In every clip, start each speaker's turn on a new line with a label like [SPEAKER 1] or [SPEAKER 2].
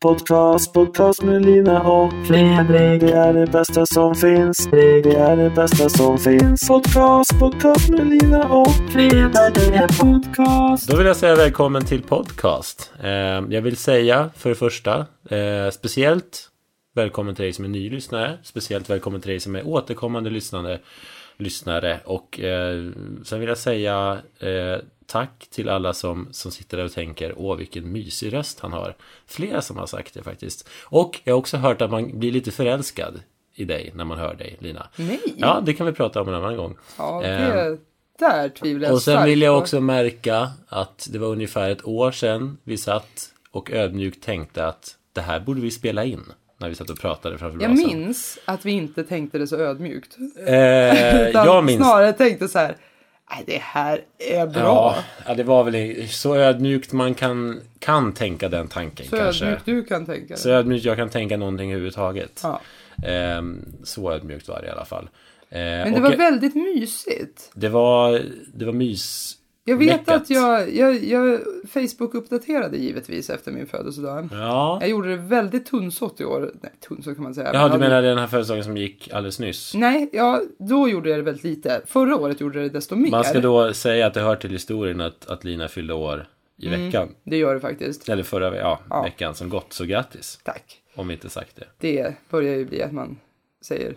[SPEAKER 1] Podcast, podcast med Lina och Fredrik. Det är det bästa som finns. Det är det bästa som finns. Podcast, podcast med Lina och Fredrik. Det är podcast.
[SPEAKER 2] Då vill jag säga välkommen till podcast. Eh, Jag vill säga för det första, eh, speciellt välkommen till dig som är ny lyssnare, speciellt välkommen till dig som är återkommande lyssnande, lyssnare och eh, sen vill jag säga eh, tack till alla som, som sitter där och tänker åh vilken mysig röst han har. Flera som har sagt det faktiskt. Och jag har också hört att man blir lite förälskad i dig när man hör dig Lina.
[SPEAKER 3] Nej.
[SPEAKER 2] Ja, det kan vi prata om en annan gång.
[SPEAKER 3] Ja,
[SPEAKER 2] Eh,
[SPEAKER 3] det där tvivlar jag
[SPEAKER 2] och sen
[SPEAKER 3] starkt
[SPEAKER 2] vill jag
[SPEAKER 3] på.
[SPEAKER 2] också märka att det var ungefär ett år sedan vi satt och ödmjukt tänkte att det här borde vi spela in. När vi satt och pratade framför
[SPEAKER 3] Jag
[SPEAKER 2] brasan.
[SPEAKER 3] minns att vi inte tänkte det så ödmjukt.
[SPEAKER 2] Eh,
[SPEAKER 3] Utan
[SPEAKER 2] jag minns.
[SPEAKER 3] snarare tänkte så här, "Nej, det här är bra.
[SPEAKER 2] Ja, ja, det var väl i- så ödmjukt man kan, kan tänka den tanken
[SPEAKER 3] så
[SPEAKER 2] kanske.
[SPEAKER 3] ödmjukt du kan tänka
[SPEAKER 2] Så
[SPEAKER 3] dig.
[SPEAKER 2] ödmjukt jag kan tänka någonting överhuvudtaget.
[SPEAKER 3] Ja.
[SPEAKER 2] Ehm, så ödmjukt var det i alla fall. Eh,
[SPEAKER 3] Men det var väldigt mysigt.
[SPEAKER 2] det var, det var mys...
[SPEAKER 3] Jag vet
[SPEAKER 2] Lyckat.
[SPEAKER 3] att jag, jag, jag Facebook-uppdaterade givetvis efter min födelsedag.
[SPEAKER 2] Ja,
[SPEAKER 3] Jag gjorde det väldigt tunnsått i år. Nej, tunnsått kan man säga.
[SPEAKER 2] ja du
[SPEAKER 3] jag-
[SPEAKER 2] menar den här födelsedagen som gick alldeles nyss?
[SPEAKER 3] Nej, ja, då gjorde jag det väldigt lite. Förra året gjorde jag det desto mer.
[SPEAKER 2] Man ska då säga att det hör till historien att, att Lina fyllde år i veckan.
[SPEAKER 3] Det gör det faktiskt.
[SPEAKER 2] Eller förra ve- ja,
[SPEAKER 3] Mm. Ja.
[SPEAKER 2] veckan som gått, så grattis.
[SPEAKER 3] Tack.
[SPEAKER 2] Om vi inte sagt det.
[SPEAKER 3] Det börjar ju bli att man säger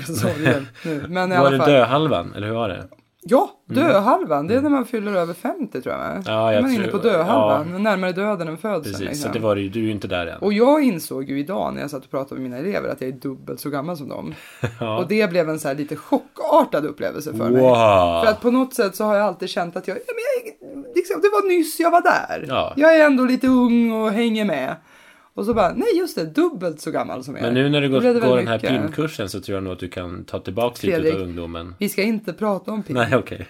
[SPEAKER 3] sorgen nu. Men i
[SPEAKER 2] var
[SPEAKER 3] alla
[SPEAKER 2] det
[SPEAKER 3] fall.
[SPEAKER 2] döhalvan, eller hur var det?
[SPEAKER 3] Ja, döhalvan. Det är när man fyller över 50 tror jag. va?
[SPEAKER 2] Mm. Ja,
[SPEAKER 3] Då är
[SPEAKER 2] jag
[SPEAKER 3] man är inne på
[SPEAKER 2] tror-
[SPEAKER 3] döhalvan. Närmare döden än födseln.
[SPEAKER 2] Precis, så
[SPEAKER 3] liksom.
[SPEAKER 2] det var det ju, du är ju inte där än.
[SPEAKER 3] Och jag insåg ju idag när jag satt och pratade med mina elever att jag är dubbelt så gammal som dem. Och det blev en så här lite chockartad upplevelse för mig. För
[SPEAKER 2] Wow!
[SPEAKER 3] att på något sätt så har jag alltid känt att jag, ja, men jag liksom, det var nyss jag var där.
[SPEAKER 2] Ja.
[SPEAKER 3] Jag är ändå lite ung och hänger med. Och så bara, nej just det, dubbelt så gammal som jag är.
[SPEAKER 2] Men nu när du
[SPEAKER 3] Då
[SPEAKER 2] går,
[SPEAKER 3] blev det
[SPEAKER 2] går den
[SPEAKER 3] väldigt
[SPEAKER 2] här
[SPEAKER 3] mycket.
[SPEAKER 2] PIM-kursen så tror jag nog att du kan ta tillbaka lite
[SPEAKER 3] Fredrik.
[SPEAKER 2] av ungdomen.
[SPEAKER 3] Vi ska inte prata om pim,
[SPEAKER 2] Nej, okej.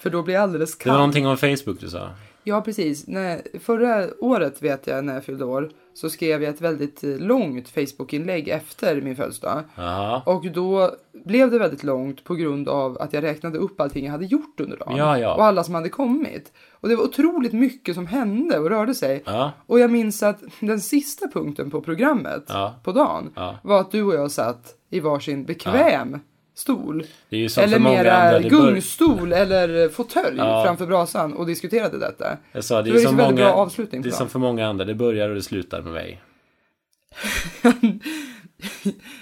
[SPEAKER 3] för då blir jag alldeles
[SPEAKER 2] Det var
[SPEAKER 3] kall.
[SPEAKER 2] någonting om Facebook du sa.
[SPEAKER 3] Ja, precis. När, förra året vet jag när jag fyllde år så skrev jag ett väldigt eh, långt Facebook-inlägg efter min födelsedag.
[SPEAKER 2] Jaha.
[SPEAKER 3] Och då blev det väldigt långt på grund av att jag räknade upp allting jag hade gjort under dagen.
[SPEAKER 2] Ja, ja.
[SPEAKER 3] Och alla som hade kommit. Och det var otroligt mycket som hände och rörde sig.
[SPEAKER 2] Ja.
[SPEAKER 3] Och jag minns att den sista punkten på programmet
[SPEAKER 2] Ja.
[SPEAKER 3] på dagen
[SPEAKER 2] Ja.
[SPEAKER 3] var att du och jag satt i varsin bekväm stol.
[SPEAKER 2] Det är ju som
[SPEAKER 3] Eller
[SPEAKER 2] för många
[SPEAKER 3] mera
[SPEAKER 2] andra. Det bör...
[SPEAKER 3] gungstol eller fåtölj
[SPEAKER 2] Ja.
[SPEAKER 3] framför brasan och diskuterade detta.
[SPEAKER 2] Jag sa, det
[SPEAKER 3] Det
[SPEAKER 2] är
[SPEAKER 3] var
[SPEAKER 2] ju
[SPEAKER 3] ju
[SPEAKER 2] som
[SPEAKER 3] så väldigt
[SPEAKER 2] många...
[SPEAKER 3] bra avslutning på
[SPEAKER 2] Det är
[SPEAKER 3] dagen.
[SPEAKER 2] som för många andra. Det börjar och det slutar med mig.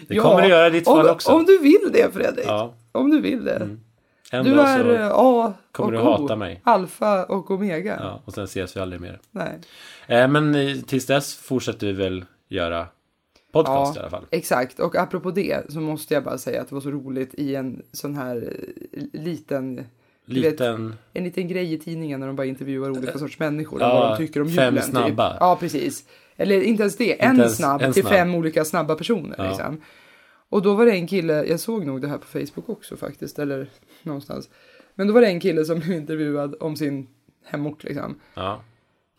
[SPEAKER 2] Det
[SPEAKER 3] Ja,
[SPEAKER 2] kommer det göra i ditt fall
[SPEAKER 3] om,
[SPEAKER 2] också.
[SPEAKER 3] Om du vill det Fredrik.
[SPEAKER 2] Ja.
[SPEAKER 3] Om du vill det.
[SPEAKER 2] En
[SPEAKER 3] Du
[SPEAKER 2] dag
[SPEAKER 3] är
[SPEAKER 2] så...
[SPEAKER 3] eh, A
[SPEAKER 2] kommer
[SPEAKER 3] och
[SPEAKER 2] du
[SPEAKER 3] O.
[SPEAKER 2] hata mig.
[SPEAKER 3] Alfa och Omega.
[SPEAKER 2] Ja, och sen ses vi aldrig mer.
[SPEAKER 3] Nej.
[SPEAKER 2] Eh, men eh, tills dess fortsätter vi väl göra podcast i alla fall.
[SPEAKER 3] exakt. Och apropå det så måste jag bara säga att det var så roligt i en sån här eh, liten, du vet,
[SPEAKER 2] Liten...
[SPEAKER 3] en liten grej i tidningen när de bara intervjuar olika sorts människor
[SPEAKER 2] Eh, Ja,
[SPEAKER 3] och vad de tycker om
[SPEAKER 2] fem
[SPEAKER 3] julen. typ.
[SPEAKER 2] snabba.
[SPEAKER 3] Ja, precis. Eller inte ens det, en,
[SPEAKER 2] ens-
[SPEAKER 3] snabb
[SPEAKER 2] en
[SPEAKER 3] till
[SPEAKER 2] snabb.
[SPEAKER 3] fem olika snabba personer.
[SPEAKER 2] Ja.
[SPEAKER 3] Liksom. Och då var det en kille, jag såg nog det här på Facebook också faktiskt, eller någonstans. Men då var det en kille som blev intervjuad om sin hemort liksom.
[SPEAKER 2] Ja.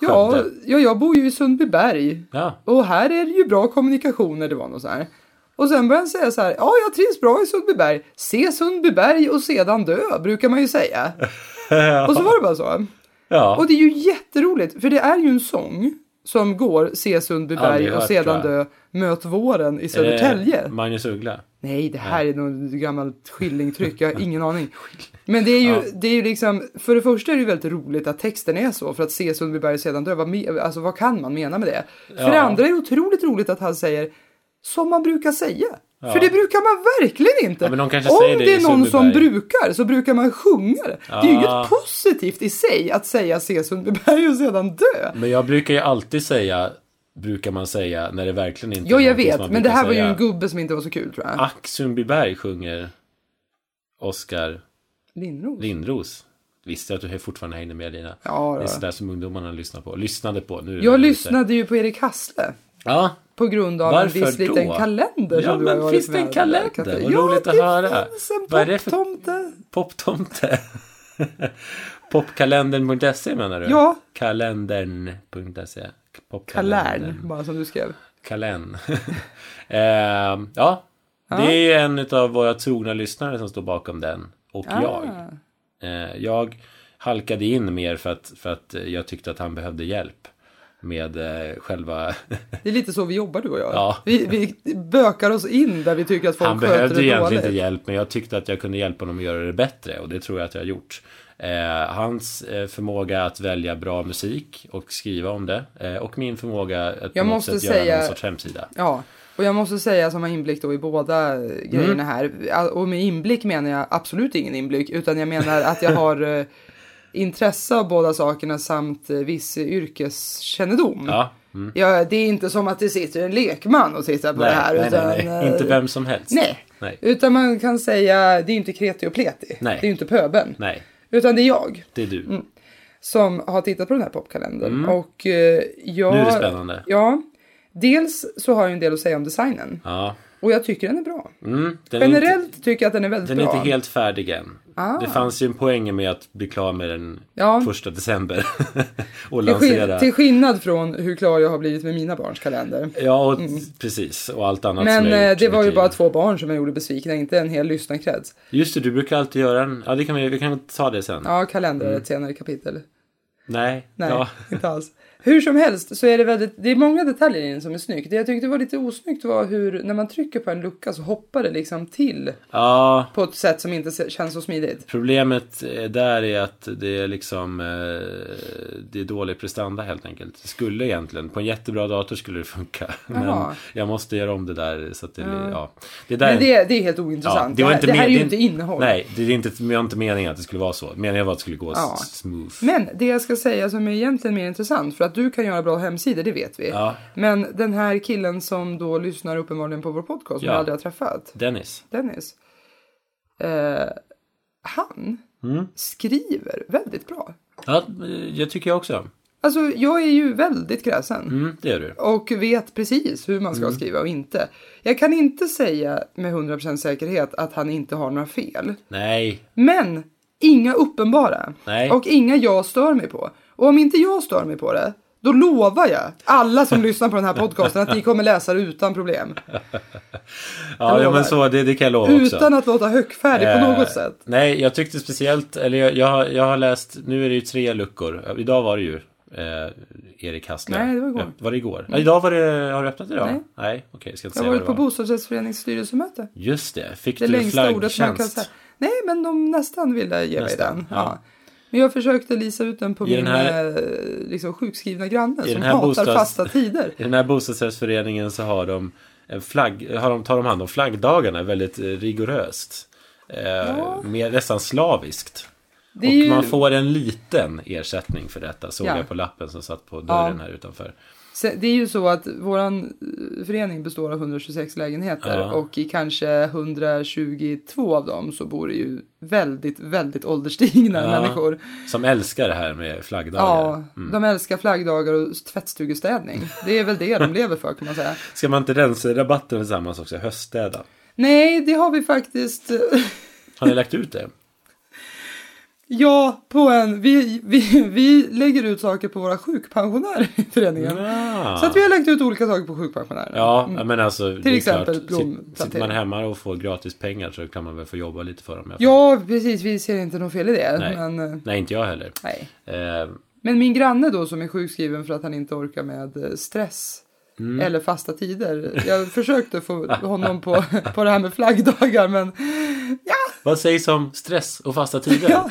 [SPEAKER 3] Ja,
[SPEAKER 2] Skövde.
[SPEAKER 3] ja, jag bor ju i Sundbyberg.
[SPEAKER 2] Ja.
[SPEAKER 3] Och här är det ju bra kommunikationer, det var något så här. Och sen började han säga så här, ja jag trivs bra i Sundbyberg. Se Sundbyberg och sedan dö, brukar man ju säga. Och så var det bara så.
[SPEAKER 2] Ja.
[SPEAKER 3] Och det är ju jätteroligt, för det är ju en sång som går Se Sundbyberg
[SPEAKER 2] Aldrig
[SPEAKER 3] och
[SPEAKER 2] hört,
[SPEAKER 3] sedan
[SPEAKER 2] tror
[SPEAKER 3] dö, möt våren i Södertälje.
[SPEAKER 2] Eh, Magnus Uggla.
[SPEAKER 3] Nej, det här är något gammalt skillingtryck. Jag har ingen aning. Men det är ju, det är ju liksom, för det första är det ju väldigt roligt att texten är så. För att se Sundbyberg sedan dö, vad, me- alltså, vad kan man mena med det? För det andra är det otroligt roligt att han säger som man brukar säga. För det brukar man verkligen inte.
[SPEAKER 2] Ja, men de kanske
[SPEAKER 3] Om
[SPEAKER 2] säger det
[SPEAKER 3] det
[SPEAKER 2] i
[SPEAKER 3] är någon som
[SPEAKER 2] Sundbyberg.
[SPEAKER 3] brukar så brukar man sjunga det. Det är
[SPEAKER 2] Ja.
[SPEAKER 3] ju inget positivt i sig att säga se Sundbyberg och sedan dö.
[SPEAKER 2] Men jag brukar ju alltid säga, brukar man säga, när det verkligen inte
[SPEAKER 3] Jo, jag
[SPEAKER 2] någonting som man
[SPEAKER 3] vet, men det
[SPEAKER 2] brukar
[SPEAKER 3] här var ju
[SPEAKER 2] säga.
[SPEAKER 3] en gubbe som inte var så kul tror jag.
[SPEAKER 2] Ack Sundbyberg sjunger Oskar
[SPEAKER 3] Lindros.
[SPEAKER 2] Lindros. Visste att du fortfarande hängde med Lina.
[SPEAKER 3] Ja,
[SPEAKER 2] det är
[SPEAKER 3] då.
[SPEAKER 2] sådär som ungdomarna lyssnar på. Lyssnade på. Nu är det
[SPEAKER 3] Jag
[SPEAKER 2] lite-
[SPEAKER 3] lyssnade ju på Erik Hassle.
[SPEAKER 2] Ja,
[SPEAKER 3] På grund av
[SPEAKER 2] Varför
[SPEAKER 3] en viss
[SPEAKER 2] då?
[SPEAKER 3] liten kalender
[SPEAKER 2] Ja,
[SPEAKER 3] som du
[SPEAKER 2] men
[SPEAKER 3] har varit
[SPEAKER 2] finns det en
[SPEAKER 3] med-
[SPEAKER 2] kalender? Vad
[SPEAKER 3] ja,
[SPEAKER 2] roligt att
[SPEAKER 3] det
[SPEAKER 2] höra.
[SPEAKER 3] finns en
[SPEAKER 2] Vad är det för-
[SPEAKER 3] poptomte.
[SPEAKER 2] poptomte. Popkalendern.se menar du?
[SPEAKER 3] Ja.
[SPEAKER 2] Kalendern.se.
[SPEAKER 3] Kalärn, bara som du skrev.
[SPEAKER 2] Kalän. eh, ja, det är en av våra trogna lyssnare som står bakom den. Och
[SPEAKER 3] Ah.
[SPEAKER 2] jag. Ehm, Eh, jag halkade in mer för att, för att jag tyckte att han behövde hjälp. med eh, själva...
[SPEAKER 3] Det är lite så vi jobbar du och jag.
[SPEAKER 2] Ja.
[SPEAKER 3] Vi, vi bökar oss in där vi tycker att folk
[SPEAKER 2] Han
[SPEAKER 3] sköter
[SPEAKER 2] behövde
[SPEAKER 3] det
[SPEAKER 2] egentligen
[SPEAKER 3] dåligt.
[SPEAKER 2] inte hjälp, men jag tyckte att jag kunde hjälpa honom att göra det bättre och det tror jag att jag har gjort. Eh, hans eh, förmåga att välja bra musik och skriva om det eh, och min förmåga att på
[SPEAKER 3] Jag
[SPEAKER 2] något
[SPEAKER 3] måste
[SPEAKER 2] sätt göra
[SPEAKER 3] säga-
[SPEAKER 2] någon sorts hemsida.
[SPEAKER 3] Ja, och jag måste säga som har inblick då i båda eh, grejerna här. all- Och med inblick menar jag absolut ingen inblick, utan jag menar att jag har eh, intresse av båda sakerna samt eh, viss yrkeskännedom.
[SPEAKER 2] Ja,
[SPEAKER 3] Ja, det är inte som att det sitter en lekman och tittar på
[SPEAKER 2] nej,
[SPEAKER 3] det här.
[SPEAKER 2] nej,
[SPEAKER 3] utan,
[SPEAKER 2] nej, nej.
[SPEAKER 3] eh,
[SPEAKER 2] Inte vem som helst.
[SPEAKER 3] Nej.
[SPEAKER 2] Nej.
[SPEAKER 3] utan man kan säga, det är inte kreti och pleti.
[SPEAKER 2] Nej.
[SPEAKER 3] Det är inte pöben.
[SPEAKER 2] Nej,
[SPEAKER 3] Utan det är jag
[SPEAKER 2] det är du.
[SPEAKER 3] Mm. som har tittat på den här popkalendern. Och eh, jag...
[SPEAKER 2] Mm. Nu är det spännande.
[SPEAKER 3] Ja. Dels så har jag en del att säga om designen.
[SPEAKER 2] Ja.
[SPEAKER 3] Och jag tycker den är bra.
[SPEAKER 2] Mm, den är inte-
[SPEAKER 3] Generellt tycker jag att den är väldigt
[SPEAKER 2] Den är
[SPEAKER 3] bra. Ah.
[SPEAKER 2] inte helt färdig än. Det fanns ju en poäng med att bli klar med den
[SPEAKER 3] Ja.
[SPEAKER 2] första december. och
[SPEAKER 3] till,
[SPEAKER 2] lansera.
[SPEAKER 3] skill- till skillnad från hur klar jag har blivit med mina barns kalender.
[SPEAKER 2] Ja, och, precis. Och allt annat
[SPEAKER 3] Mm. Men
[SPEAKER 2] som jag har
[SPEAKER 3] eh,
[SPEAKER 2] gjort
[SPEAKER 3] det var ju
[SPEAKER 2] under
[SPEAKER 3] bara
[SPEAKER 2] tiden.
[SPEAKER 3] två barn som jag gjorde besvikna, inte en hel lyssnarkrets.
[SPEAKER 2] Just det, du brukar alltid göra en... Ja, det kan vi, vi kan ta det sen.
[SPEAKER 3] Ja, kalender är ett senare kapitel.
[SPEAKER 2] Nej.
[SPEAKER 3] Nej,
[SPEAKER 2] Ja.
[SPEAKER 3] inte alls. Hur som helst så är det väldigt, det är många detaljer i den som är snyggt. Det jag tyckte var lite osnyggt var hur, när man trycker på en lucka så hoppar det liksom till
[SPEAKER 2] ja,
[SPEAKER 3] på ett sätt som inte se- känns så smidigt.
[SPEAKER 2] problemet eh, där är att det är liksom... Eh, det är dålig prestanda helt enkelt. Det skulle egentligen... På en jättebra dator skulle det funka. Men
[SPEAKER 3] Jaha.
[SPEAKER 2] jag måste göra om det där så att det... Ja. Det där är
[SPEAKER 3] Men
[SPEAKER 2] en-
[SPEAKER 3] det, det är helt ointressant.
[SPEAKER 2] var
[SPEAKER 3] det, här,
[SPEAKER 2] inte
[SPEAKER 3] det här
[SPEAKER 2] men-
[SPEAKER 3] är ju
[SPEAKER 2] det-
[SPEAKER 3] inte innehåll.
[SPEAKER 2] Nej, det är inte, det är inte meningen att det skulle vara så. Meningen var att det skulle gå
[SPEAKER 3] Ja.
[SPEAKER 2] s- smooth.
[SPEAKER 3] Men det jag ska säga som är egentligen mer intressant, för att du kan göra bra hemsidor, det vet vi.
[SPEAKER 2] Ja.
[SPEAKER 3] Men den här killen som då lyssnar uppenbarligen på vår podcast, som
[SPEAKER 2] Ja.
[SPEAKER 3] jag aldrig har träffat,
[SPEAKER 2] Dennis.
[SPEAKER 3] Dennis. Eh, han
[SPEAKER 2] Mm.
[SPEAKER 3] skriver väldigt bra.
[SPEAKER 2] Ja, eh, jag tycker jag också.
[SPEAKER 3] Alltså, jag är ju väldigt kräsen.
[SPEAKER 2] Mm, det gör du.
[SPEAKER 3] Och vet precis hur man ska skriva och inte. Jag kan inte säga med 100% säkerhet att han inte har några fel.
[SPEAKER 2] Nej,
[SPEAKER 3] Men inga uppenbara.
[SPEAKER 2] Nej.
[SPEAKER 3] Och inga jag stör mig på. Och om inte jag stör mig på det, då lovar jag alla som lyssnar på den här podcasten att ni kommer läsa det utan problem.
[SPEAKER 2] ja,
[SPEAKER 3] Jag
[SPEAKER 2] ja
[SPEAKER 3] lovar.
[SPEAKER 2] men så, det, det kan jag lova också.
[SPEAKER 3] Utan att låta högfärdig på något
[SPEAKER 2] Eh,
[SPEAKER 3] sätt.
[SPEAKER 2] Nej, jag tyckte speciellt, eller jag, jag, har- jag har läst, nu är det ju tre luckor. Idag var det ju eh, Erik Hassler.
[SPEAKER 3] Nej, det var igår.
[SPEAKER 2] Var det igår? Ja, idag var det, har du öppnat idag?
[SPEAKER 3] Nej.
[SPEAKER 2] Nej, okej, jag ska inte
[SPEAKER 3] Jag har
[SPEAKER 2] säga vad
[SPEAKER 3] varit
[SPEAKER 2] det
[SPEAKER 3] på
[SPEAKER 2] var.
[SPEAKER 3] bostadsrättsförenings styrelsemöte.
[SPEAKER 2] Just det, fick
[SPEAKER 3] Det
[SPEAKER 2] du
[SPEAKER 3] längsta ordet man kan
[SPEAKER 2] flaggtjänst?
[SPEAKER 3] säga. Nej, men de nästan ville ge
[SPEAKER 2] Nästan,
[SPEAKER 3] mig den.
[SPEAKER 2] ja.
[SPEAKER 3] Ja. Men jag försökte lisa ut den på
[SPEAKER 2] I
[SPEAKER 3] min
[SPEAKER 2] den här-
[SPEAKER 3] eh, liksom, sjukskrivna granne
[SPEAKER 2] den
[SPEAKER 3] som
[SPEAKER 2] här
[SPEAKER 3] hatar
[SPEAKER 2] bostads-
[SPEAKER 3] fasta tider.
[SPEAKER 2] I den här bostadsrättsföreningen så har de, en flagg, har de, tar de hand om flaggdagarna väldigt eh, rigoröst. Eh, mer, nästan slaviskt.
[SPEAKER 3] Det är
[SPEAKER 2] och
[SPEAKER 3] ju-
[SPEAKER 2] man får en liten ersättning för detta, såg
[SPEAKER 3] Ja.
[SPEAKER 2] jag på lappen som satt på dörren här utanför.
[SPEAKER 3] Sen- Det är ju så att våran eh, förening består av 126 lägenheter
[SPEAKER 2] Ja.
[SPEAKER 3] och i kanske 122 av dem så bor det ju väldigt, väldigt ålderstigna
[SPEAKER 2] Ja. Mm.
[SPEAKER 3] människor.
[SPEAKER 2] Som älskar det här med
[SPEAKER 3] Ja,
[SPEAKER 2] flaggdagar.
[SPEAKER 3] de älskar flaggdagar och tvättstugestädning. Det är väl det de lever för kan man säga.
[SPEAKER 2] Ska man inte rensa rabatten tillsammans också, höststäda?
[SPEAKER 3] Nej, det har vi faktiskt.
[SPEAKER 2] Har ni lagt ut det?
[SPEAKER 3] Ja, på en. Vi, vi, vi lägger ut saker på våra sjukpensionärer i föreningen.
[SPEAKER 2] Ja.
[SPEAKER 3] Så att vi har lagt ut olika saker på sjukpensionärer.
[SPEAKER 2] Ah. Ja, men alltså. det är
[SPEAKER 3] exempel
[SPEAKER 2] klart, sit-
[SPEAKER 3] blomplantering.
[SPEAKER 2] Sitter man hemma och får gratis pengar så kan man väl få jobba lite för dem. i alla fall.
[SPEAKER 3] Ja, precis. Vi ser inte något fel i det.
[SPEAKER 2] Nej.
[SPEAKER 3] Men, eh,
[SPEAKER 2] Nej, inte jag heller.
[SPEAKER 3] nej.
[SPEAKER 2] Eh,
[SPEAKER 3] men min granne då som är sjukskriven för att han inte orkar med eh, stress.
[SPEAKER 2] Mm.
[SPEAKER 3] Eller fasta tider. Jag försökte få honom på, på det här med flaggdagar men
[SPEAKER 2] vad sägs om stress och fasta tider?
[SPEAKER 3] ja,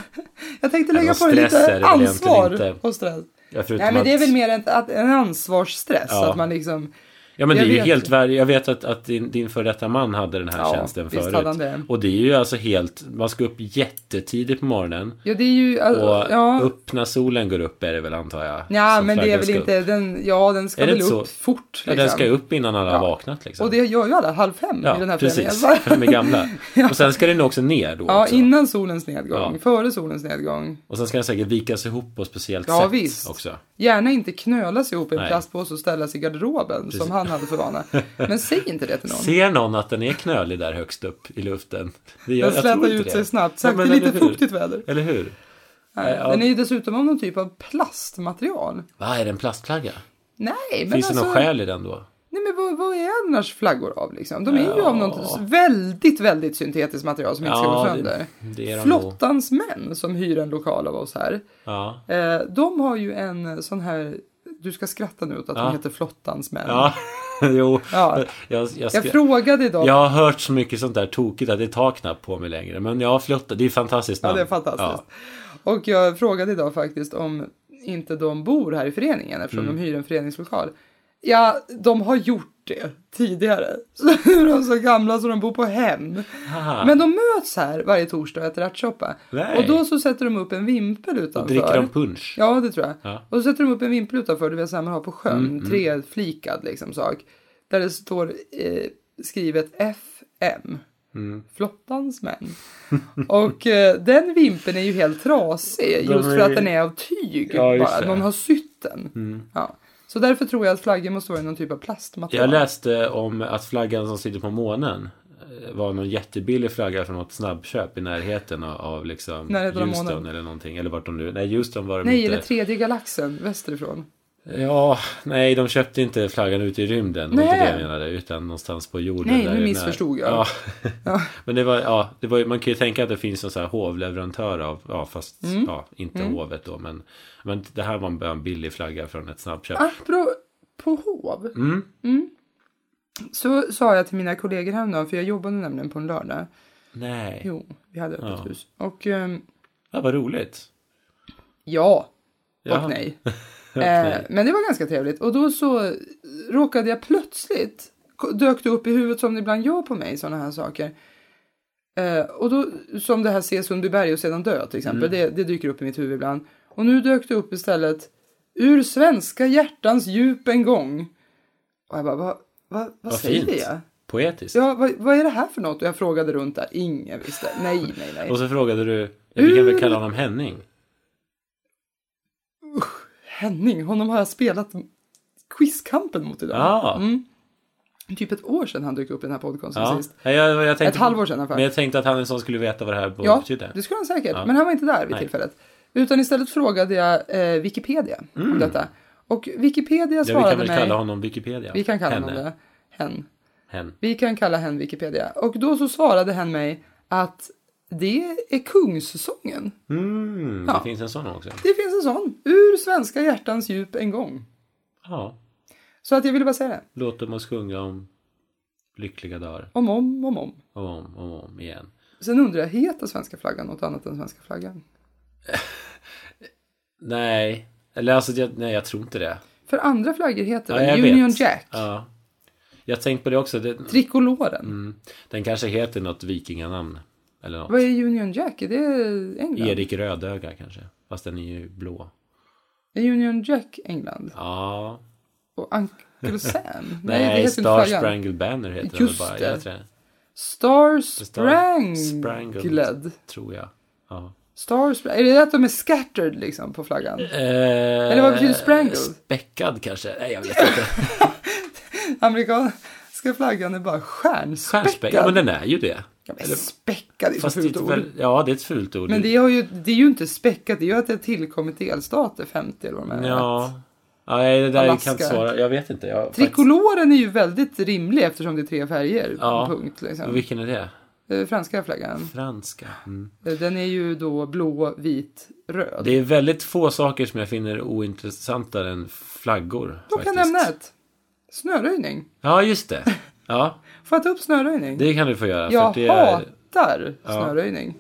[SPEAKER 3] jag tänkte lägga
[SPEAKER 2] Alltså,
[SPEAKER 3] på det
[SPEAKER 2] stress är det
[SPEAKER 3] lite
[SPEAKER 2] väl egentligen
[SPEAKER 3] ansvar
[SPEAKER 2] inte.
[SPEAKER 3] och stress.
[SPEAKER 2] Ja, förutom
[SPEAKER 3] Nej men det är
[SPEAKER 2] att-
[SPEAKER 3] väl mer en, att- en ansvarsstress.
[SPEAKER 2] Ja.
[SPEAKER 3] Att man liksom,
[SPEAKER 2] Ja men det
[SPEAKER 3] Jag
[SPEAKER 2] är ju
[SPEAKER 3] vet.
[SPEAKER 2] helt värre. Jag vet att, att din, din före detta man hade den här
[SPEAKER 3] Ja,
[SPEAKER 2] tjänsten
[SPEAKER 3] visst
[SPEAKER 2] förut.
[SPEAKER 3] hade han det.
[SPEAKER 2] Och det är ju alltså helt, man ska upp jättetidigt på morgonen.
[SPEAKER 3] ja det är ju,
[SPEAKER 2] Och
[SPEAKER 3] ja.
[SPEAKER 2] upp när solen går upp är det väl antar jag.
[SPEAKER 3] Ja,
[SPEAKER 2] som
[SPEAKER 3] men det är
[SPEAKER 2] flaggan
[SPEAKER 3] väl
[SPEAKER 2] ska
[SPEAKER 3] inte,
[SPEAKER 2] Upp.
[SPEAKER 3] den, ja den ska
[SPEAKER 2] Är det
[SPEAKER 3] väl upp
[SPEAKER 2] inte så?
[SPEAKER 3] fort.
[SPEAKER 2] Ja, den ska upp innan alla har
[SPEAKER 3] Ja.
[SPEAKER 2] vaknat liksom.
[SPEAKER 3] Och det gör ju alla halv fem
[SPEAKER 2] ja,
[SPEAKER 3] i den här
[SPEAKER 2] precis.
[SPEAKER 3] föreningen.
[SPEAKER 2] De är gamla. Och sen ska den också ner då
[SPEAKER 3] Ja,
[SPEAKER 2] också.
[SPEAKER 3] innan solens nedgång,
[SPEAKER 2] Ja.
[SPEAKER 3] före solens nedgång.
[SPEAKER 2] Och sen ska den säkert vikas ihop på ett speciellt
[SPEAKER 3] Ja,
[SPEAKER 2] sätt
[SPEAKER 3] visst.
[SPEAKER 2] också.
[SPEAKER 3] Gärna inte knölas ihop i en
[SPEAKER 2] Nej.
[SPEAKER 3] plastpåse och ställas i garderoben som han hade för vana. Men säg inte det till någon.
[SPEAKER 2] Ser någon att den är knölig där högst upp i luften? Det gör,
[SPEAKER 3] Den
[SPEAKER 2] jag tror
[SPEAKER 3] slätar
[SPEAKER 2] inte
[SPEAKER 3] ut
[SPEAKER 2] det.
[SPEAKER 3] sig snabbt,
[SPEAKER 2] Ja,
[SPEAKER 3] särskilt
[SPEAKER 2] men
[SPEAKER 3] i lite
[SPEAKER 2] eller hur?
[SPEAKER 3] fuktigt väder.
[SPEAKER 2] Eller hur?
[SPEAKER 3] Nej,
[SPEAKER 2] ja.
[SPEAKER 3] Den är ju dessutom av någon typ av plastmaterial.
[SPEAKER 2] Va, är det en plastflagga?
[SPEAKER 3] Nej, men
[SPEAKER 2] Finns det
[SPEAKER 3] alltså,
[SPEAKER 2] någon själ i den då?
[SPEAKER 3] nej, men vad, vad är annars flaggor av liksom? De är ju av något väldigt, väldigt syntetiskt material som inte ska gå
[SPEAKER 2] Ja,
[SPEAKER 3] sönder.
[SPEAKER 2] det- det är de
[SPEAKER 3] Flottans män som hyr en lokal av oss här.
[SPEAKER 2] Ja.
[SPEAKER 3] Eh, de har ju en sån här du ska skratta nu åt att
[SPEAKER 2] Ja.
[SPEAKER 3] hon heter Flottans män.
[SPEAKER 2] Ja, jo.
[SPEAKER 3] Ja.
[SPEAKER 2] Jag, jag,
[SPEAKER 3] Jag
[SPEAKER 2] ska,
[SPEAKER 3] frågade idag.
[SPEAKER 2] jag har hört så mycket sånt där tokigt att det tar knappt på mig längre. Men jag har flottat. Det är fantastiskt
[SPEAKER 3] Ja,
[SPEAKER 2] namn.
[SPEAKER 3] det är fantastiskt. Och jag frågade idag faktiskt om inte de bor här i föreningen eftersom
[SPEAKER 2] Mm.
[SPEAKER 3] de hyr en föreningslokal. Ja, de har gjort det tidigare. Så nu är de så gamla så de bor på hem.
[SPEAKER 2] Aha.
[SPEAKER 3] Men de möts här varje torsdag och äter ärtsoppa.
[SPEAKER 2] Nej.
[SPEAKER 3] Och då så sätter de upp en vimpel
[SPEAKER 2] Ja.
[SPEAKER 3] utanför.
[SPEAKER 2] Dricker de punch?
[SPEAKER 3] Ja, det tror jag.
[SPEAKER 2] Ja. Mm,
[SPEAKER 3] Och så sätter de upp en vimpel utanför, det vill säga man har på sjön, treflikad liksom sak. Där det står eh, skrivet FM.
[SPEAKER 2] Mm.
[SPEAKER 3] Flottans män. Och eh, den vimpeln är ju helt trasig,
[SPEAKER 2] De
[SPEAKER 3] just för
[SPEAKER 2] är-
[SPEAKER 3] att den är av tyg.
[SPEAKER 2] Ja, just
[SPEAKER 3] bara.
[SPEAKER 2] det. Mm.
[SPEAKER 3] Någon har sytt den. Ja. Så därför tror jag att flaggan måste vara i någon typ av plastmaterial.
[SPEAKER 2] Jag läste om att flaggan som sitter på månen eh, var någon jättebillig flagga från något snabbköp i närheten av, av liksom
[SPEAKER 3] Närheten av
[SPEAKER 2] Houston
[SPEAKER 3] månen.
[SPEAKER 2] eller någonting. Eller vart de nu... Nej, Houston var de
[SPEAKER 3] Nej,
[SPEAKER 2] inte.
[SPEAKER 3] eller tredje galaxen västerifrån.
[SPEAKER 2] Ja, nej, de köpte inte flaggan ute i rymden. Det var inte
[SPEAKER 3] Nej.
[SPEAKER 2] det jag menade, utan någonstans på jorden.
[SPEAKER 3] Nej,
[SPEAKER 2] där
[SPEAKER 3] nu
[SPEAKER 2] i när-
[SPEAKER 3] missförstod jag.
[SPEAKER 2] Ja. Men det var, ja, det var, ju- man kan ju tänka att det finns en så här hovleverantör av, ja, fast
[SPEAKER 3] Mm.
[SPEAKER 2] ja, inte hovet då, men, men det här var en, en billig flagga från ett snabbköp.
[SPEAKER 3] Ah. Apropå hov. Mm. Så sa jag till mina kollegor häromdagen, för jag jobbade nämligen på en lördag.
[SPEAKER 2] Nej,
[SPEAKER 3] Jo, vi hade öppet
[SPEAKER 2] Ja.
[SPEAKER 3] hus. Och ehm,
[SPEAKER 2] ja, vad roligt.
[SPEAKER 3] ja,
[SPEAKER 2] Ja.
[SPEAKER 3] och nej.
[SPEAKER 2] nej.
[SPEAKER 3] Eh, men det var ganska trevligt. Och då så råkade jag plötsligt, dök det upp i huvudet som det ibland gör på mig, sådana här saker. Eh, och då, som det här se Sundbyberg och sedan dö till exempel,
[SPEAKER 2] Mm.
[SPEAKER 3] det, det dyker upp i mitt huvud ibland. Och nu dök det upp istället, ur svenska hjärtans djup en gång. Och jag bara, va, va, vad
[SPEAKER 2] Vad
[SPEAKER 3] säger
[SPEAKER 2] fint.
[SPEAKER 3] jag?
[SPEAKER 2] Poetiskt.
[SPEAKER 3] Ja, vad, vad är det här för något? Och jag frågade runt där, ingen visste. Nej, nej, nej.
[SPEAKER 2] Och så frågade du, ja, vi kan väl
[SPEAKER 3] Hur-
[SPEAKER 2] kalla honom Henning?
[SPEAKER 3] Mm. Henning, honom har jag spelat quizkampen mot idag.
[SPEAKER 2] Ja.
[SPEAKER 3] Mm. Typ ett år sedan han dök upp i den här podcasten
[SPEAKER 2] Ah. Ja,
[SPEAKER 3] sist.
[SPEAKER 2] Nej, jag, jag tänkte,
[SPEAKER 3] Ett halvår sedan ungefär.
[SPEAKER 2] Men jag tänkte att han en sån skulle veta vad det här
[SPEAKER 3] Ja,
[SPEAKER 2] betydde.
[SPEAKER 3] det skulle han säkert.
[SPEAKER 2] Ja.
[SPEAKER 3] Men han var inte där vid
[SPEAKER 2] Nej.
[SPEAKER 3] tillfället. Utan istället frågade jag eh, Wikipedia om detta. Och Wikipedia
[SPEAKER 2] Mm. Ja, vi
[SPEAKER 3] svarade
[SPEAKER 2] kan väl
[SPEAKER 3] mig.
[SPEAKER 2] kalla honom Wikipedia.
[SPEAKER 3] vi kan kalla
[SPEAKER 2] Henne.
[SPEAKER 3] honom det. Hen.
[SPEAKER 2] Hen.
[SPEAKER 3] Vi kan kalla hen Wikipedia. Och då så svarade hen mig att det är kungssången.
[SPEAKER 2] Mm,
[SPEAKER 3] Ja.
[SPEAKER 2] Det finns en sån också.
[SPEAKER 3] Det finns en sån. Ur svenska hjärtans djup en gång.
[SPEAKER 2] Ja.
[SPEAKER 3] Så att jag ville bara säga det.
[SPEAKER 2] Låt dem oss sjunga om lyckliga dagar.
[SPEAKER 3] Om, om, om, om.
[SPEAKER 2] Om och om, om, och om igen.
[SPEAKER 3] Sen undrar jag, heter svenska flaggan något annat än svenska flaggan?
[SPEAKER 2] Nej. Eller alltså, jag, nej jag tror inte det.
[SPEAKER 3] För andra flaggor heter
[SPEAKER 2] Ja,
[SPEAKER 3] den
[SPEAKER 2] jag
[SPEAKER 3] Union
[SPEAKER 2] vet.
[SPEAKER 3] Jack,
[SPEAKER 2] Ja. Jag har tänkt på det också. Det,
[SPEAKER 3] Tricoloren.
[SPEAKER 2] mm, den kanske heter något vikinganamn. Eller något.
[SPEAKER 3] Vad är Union Jack? Är det England?
[SPEAKER 2] Erik Rödöga kanske. Fast den är ju blå.
[SPEAKER 3] Är Union Jack England?
[SPEAKER 2] Ja.
[SPEAKER 3] Och Uncle Sam?
[SPEAKER 2] Nej,
[SPEAKER 3] det heter
[SPEAKER 2] Star
[SPEAKER 3] inte flaggan.
[SPEAKER 2] Sprangled Banner heter
[SPEAKER 3] Just
[SPEAKER 2] den väl bara.
[SPEAKER 3] det.
[SPEAKER 2] Jag tror det.
[SPEAKER 3] Star
[SPEAKER 2] Star
[SPEAKER 3] Sprangled.
[SPEAKER 2] Tror jag. Ja.
[SPEAKER 3] Star Sprangled. Är det att de är scattered liksom på flaggan?
[SPEAKER 2] Eller
[SPEAKER 3] vad betyder Sprangled?
[SPEAKER 2] Eh, Späckad kanske? Nej, jag vet inte.
[SPEAKER 3] Amerikanska flaggan är bara
[SPEAKER 2] Stjärnspäckad?
[SPEAKER 3] stjärnspäckad.
[SPEAKER 2] Ja, men den är ju det.
[SPEAKER 3] Ja, men späckad är så
[SPEAKER 2] Fast
[SPEAKER 3] fult
[SPEAKER 2] det är
[SPEAKER 3] ord.
[SPEAKER 2] väl, ja, det är ett fult ord.
[SPEAKER 3] Men det, har ju, det är ju inte späckat, det är ju att det har tillkommit delstater, 50 eller vad de är.
[SPEAKER 2] Ja. Ja, nej, det där kan
[SPEAKER 3] Alaska.
[SPEAKER 2] jag inte svara. Jag vet inte. Jag, faktiskt,
[SPEAKER 3] Trikoloren är ju väldigt rimlig eftersom det är tre färger.
[SPEAKER 2] Ja.
[SPEAKER 3] Punkt, liksom.
[SPEAKER 2] vilken är det?
[SPEAKER 3] Eh, Franska flaggan.
[SPEAKER 2] Franska. Mm.
[SPEAKER 3] Eh, Den är ju då blå, vit, röd.
[SPEAKER 2] Det är väldigt få saker som jag finner ointressantare än flaggor.
[SPEAKER 3] Då kan jag nämna ett. Snöröjning.
[SPEAKER 2] Ja, just det. Ja,
[SPEAKER 3] Får jag ta upp snöröjning?
[SPEAKER 2] det kan du få göra.
[SPEAKER 3] jag
[SPEAKER 2] för det är,
[SPEAKER 3] hatar snöröjning.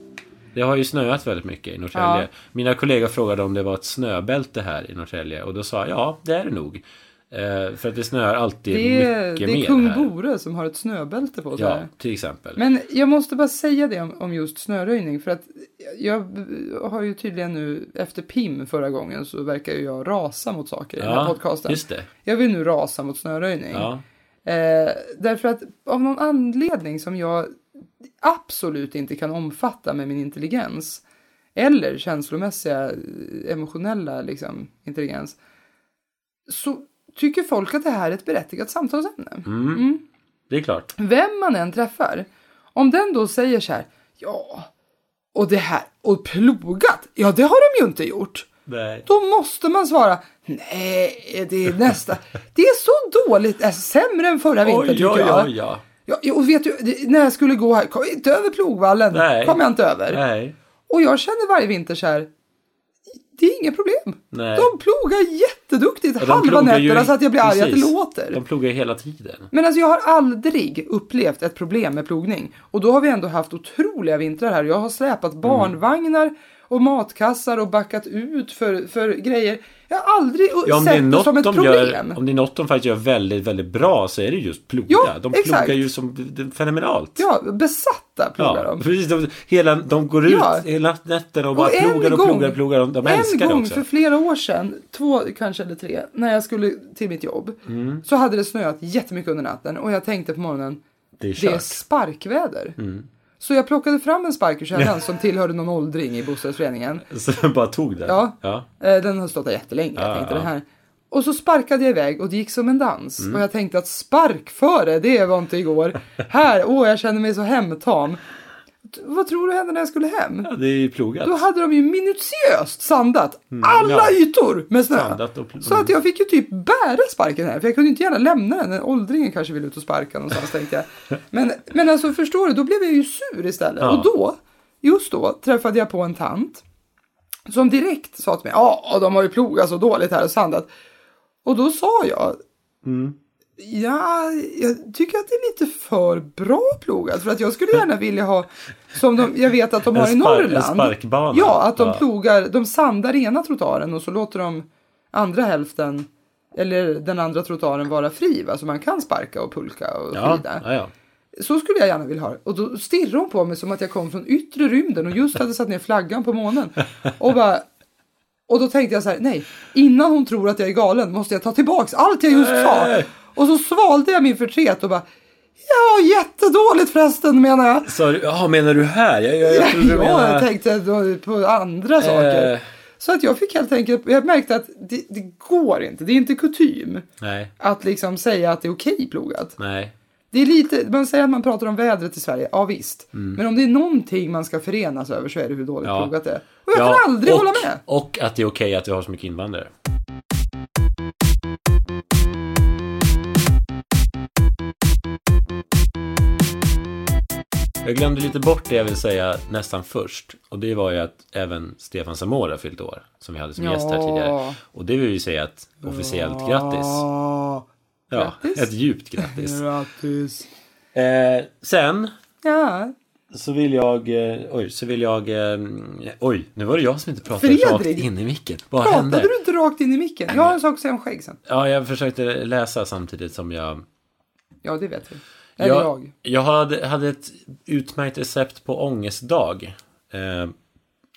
[SPEAKER 2] Det har ju snöat väldigt mycket i Norrtälje.
[SPEAKER 3] Ja.
[SPEAKER 2] Mina kollegor frågade om det var ett snöbälte här i Norrtälje och då sa jag ja, det är det nog. Eh, för att det snöar alltid
[SPEAKER 3] Det är,
[SPEAKER 2] mycket
[SPEAKER 3] det
[SPEAKER 2] mer
[SPEAKER 3] är kung
[SPEAKER 2] här.
[SPEAKER 3] Bore som har ett snöbälte på sig.
[SPEAKER 2] Ja, till exempel.
[SPEAKER 3] Men jag måste bara säga det om, om just snöröjning för att jag har ju tydligen nu efter PIM förra gången så verkar ju jag rasa mot saker i den här
[SPEAKER 2] ja,
[SPEAKER 3] podcasten.
[SPEAKER 2] just det.
[SPEAKER 3] Jag vill nu rasa mot snöröjning.
[SPEAKER 2] Ja.
[SPEAKER 3] Eh, därför att av någon anledning som jag absolut inte kan omfatta med min intelligens eller känslomässiga, eh, emotionella liksom, intelligens så tycker folk att det här är ett berättigat samtalsämne.
[SPEAKER 2] Mm. Det är klart.
[SPEAKER 3] Vem man än träffar, om den då säger så här, ja, och det här, och plogat, ja det har de ju inte gjort.
[SPEAKER 2] Nej.
[SPEAKER 3] Då måste man svara nej, det är nästa. Det är så dåligt, alltså, sämre än förra vintern
[SPEAKER 2] Oj,
[SPEAKER 3] tycker
[SPEAKER 2] oj,
[SPEAKER 3] jag.
[SPEAKER 2] oj, ja.
[SPEAKER 3] Ja, jo, och vet du, det- när jag skulle gå här, kom inte över plogvallen.
[SPEAKER 2] Nej.
[SPEAKER 3] Kom jag inte över.
[SPEAKER 2] Nej.
[SPEAKER 3] Och jag känner varje vinter så här, det är inga problem.
[SPEAKER 2] Nej.
[SPEAKER 3] De plogar jätteduktigt
[SPEAKER 2] Ja, de
[SPEAKER 3] halva
[SPEAKER 2] plogar ju-
[SPEAKER 3] nätterna så att jag blir arg att det
[SPEAKER 2] precis.
[SPEAKER 3] låter.
[SPEAKER 2] De plogar ju hela tiden.
[SPEAKER 3] Men alltså jag har aldrig upplevt ett problem med plogning. Och då har vi ändå haft otroliga vintrar här. Jag har släpat
[SPEAKER 2] Mm.
[SPEAKER 3] barnvagnar och matkassar och backat ut för, för grejer. Jag har aldrig
[SPEAKER 2] Ja, om, det är
[SPEAKER 3] sett det
[SPEAKER 2] något
[SPEAKER 3] som ett
[SPEAKER 2] de
[SPEAKER 3] problem.
[SPEAKER 2] gör, om det är något de faktiskt gör väldigt, väldigt bra så är det just ploga.
[SPEAKER 3] Jo,
[SPEAKER 2] de
[SPEAKER 3] exakt.
[SPEAKER 2] plogar ju som det är fenomenalt.
[SPEAKER 3] Ja, besatta plogar de.
[SPEAKER 2] precis. De, hela, de går ut
[SPEAKER 3] Ja.
[SPEAKER 2] hela nätterna och bara
[SPEAKER 3] en
[SPEAKER 2] plogar och
[SPEAKER 3] gång-
[SPEAKER 2] plogar och plogar. De, de älskar
[SPEAKER 3] en
[SPEAKER 2] det
[SPEAKER 3] gång
[SPEAKER 2] också.
[SPEAKER 3] för flera år sedan, två kanske eller tre, när jag skulle till mitt jobb.
[SPEAKER 2] Mm.
[SPEAKER 3] Så hade det snöat jättemycket under natten och jag tänkte på morgonen,
[SPEAKER 2] Det är
[SPEAKER 3] det är
[SPEAKER 2] kört. Mm.
[SPEAKER 3] sparkväder. Så jag plockade fram en spark ur källan som tillhörde någon åldring i bostadsföreningen.
[SPEAKER 2] Så jag bara tog den.
[SPEAKER 3] Ja.
[SPEAKER 2] Ja.
[SPEAKER 3] Eh, Den har stått där jättelänge.
[SPEAKER 2] Ja,
[SPEAKER 3] jag tänkte
[SPEAKER 2] ja. Mm.
[SPEAKER 3] det här. Och så sparkade jag iväg och det gick som en dans. Och jag tänkte att spark före, det var inte igår. Här, åh jag känner mig så hemtam. T- Vad tror du hände när jag skulle hem?
[SPEAKER 2] Ja, det är ju plogat.
[SPEAKER 3] Då hade de ju minutiöst sandat alla
[SPEAKER 2] Mm, ja.
[SPEAKER 3] ytor med snö.
[SPEAKER 2] Sandat och pl-
[SPEAKER 3] Så att jag fick ju typ bära sparken här. För jag kunde inte gärna lämna den. Den åldringen kanske ville ut och sparka någonstans tänkte jag. Men, men alltså förstår du, då blev jag ju sur istället.
[SPEAKER 2] Ja.
[SPEAKER 3] Och då, just då, träffade jag på en tant. Som direkt sa till mig, ja de har ju plogat så dåligt här och sandat. Och då sa jag,
[SPEAKER 2] Mm.
[SPEAKER 3] ja, jag tycker att det är lite för bra plogat. För att jag skulle gärna vilja ha, som de, jag vet att de
[SPEAKER 2] En
[SPEAKER 3] har i
[SPEAKER 2] spark- en
[SPEAKER 3] Norrland.
[SPEAKER 2] sparkbana.
[SPEAKER 3] Ja, att de
[SPEAKER 2] Ja.
[SPEAKER 3] plogar, de sandar ena trottoaren och så låter de andra hälften, eller den andra trottoaren vara fri. Va? Så man kan sparka och pulka och
[SPEAKER 2] ja.
[SPEAKER 3] vrida.
[SPEAKER 2] Ja, ja.
[SPEAKER 3] Så skulle jag gärna vilja ha det. Och då stirrade hon på mig som att jag kom från yttre rymden och just hade satt ner flaggan på månen. Och bara... Och då tänkte jag så här, nej, innan hon tror att jag är galen måste jag ta tillbaks allt jag just sa.
[SPEAKER 2] Nej.
[SPEAKER 3] Och så svalde jag min förtret och bara, ja, jättedåligt förresten menar jag.
[SPEAKER 2] Så, ja, menar du här? Jag, jag, jag trodde du
[SPEAKER 3] Ja,
[SPEAKER 2] menade...
[SPEAKER 3] jag tänkte då på andra
[SPEAKER 2] Eh.
[SPEAKER 3] saker. Så att jag fick helt enkelt, jag märkte att det, det går inte, det är inte kutym
[SPEAKER 2] Nej,
[SPEAKER 3] att liksom säga att det är okej plogat.
[SPEAKER 2] nej.
[SPEAKER 3] Det är lite, man säger att man pratar om vädret i Sverige, ja visst. Men om det är någonting man ska förenas över så är det hur dåligt
[SPEAKER 2] Mm. Ja.
[SPEAKER 3] plogat det är. Och jag kan aldrig
[SPEAKER 2] och,
[SPEAKER 3] hålla med.
[SPEAKER 2] Och att det är okej att vi har så mycket invandrare. Jag glömde lite bort det jag vill säga nästan först. Och det var ju att även Stefan Samora har fyllt år. Som vi hade som gäst här
[SPEAKER 3] Ja.
[SPEAKER 2] tidigare. Och det vill vi säga att officiellt grattis.
[SPEAKER 3] Ja,
[SPEAKER 2] Ja,
[SPEAKER 3] grattis.
[SPEAKER 2] ett djupt grattis.
[SPEAKER 3] Ah, grattis.
[SPEAKER 2] Eh, sen
[SPEAKER 3] Ja,
[SPEAKER 2] så vill jag, eh, oj, så vill jag, eh, oj, nu var det jag som inte pratade
[SPEAKER 3] Fredrik!
[SPEAKER 2] rakt in i micken. Vad hände?
[SPEAKER 3] pratade du inte rakt in i micken? Jag har en sak att säga om skägg sen.
[SPEAKER 2] Ja, jag försökte läsa samtidigt som jag...
[SPEAKER 3] Ja, det vet vi. Eller jag.
[SPEAKER 2] Jag, jag hade, hade ett utmärkt recept på ångestdag. Eh,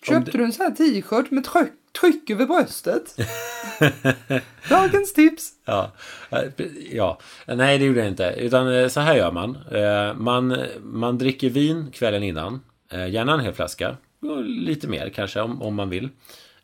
[SPEAKER 3] Köpte du en sån här t-shirt med tryck, tryck över bröstet? Dagens tips.
[SPEAKER 2] ja, eh, ja, nej det gjorde jag inte. Utan eh, så här gör man. Eh, man, man dricker vin kvällen innan. Eh, gärna en hel flaska. Och lite mer kanske om, om man vill.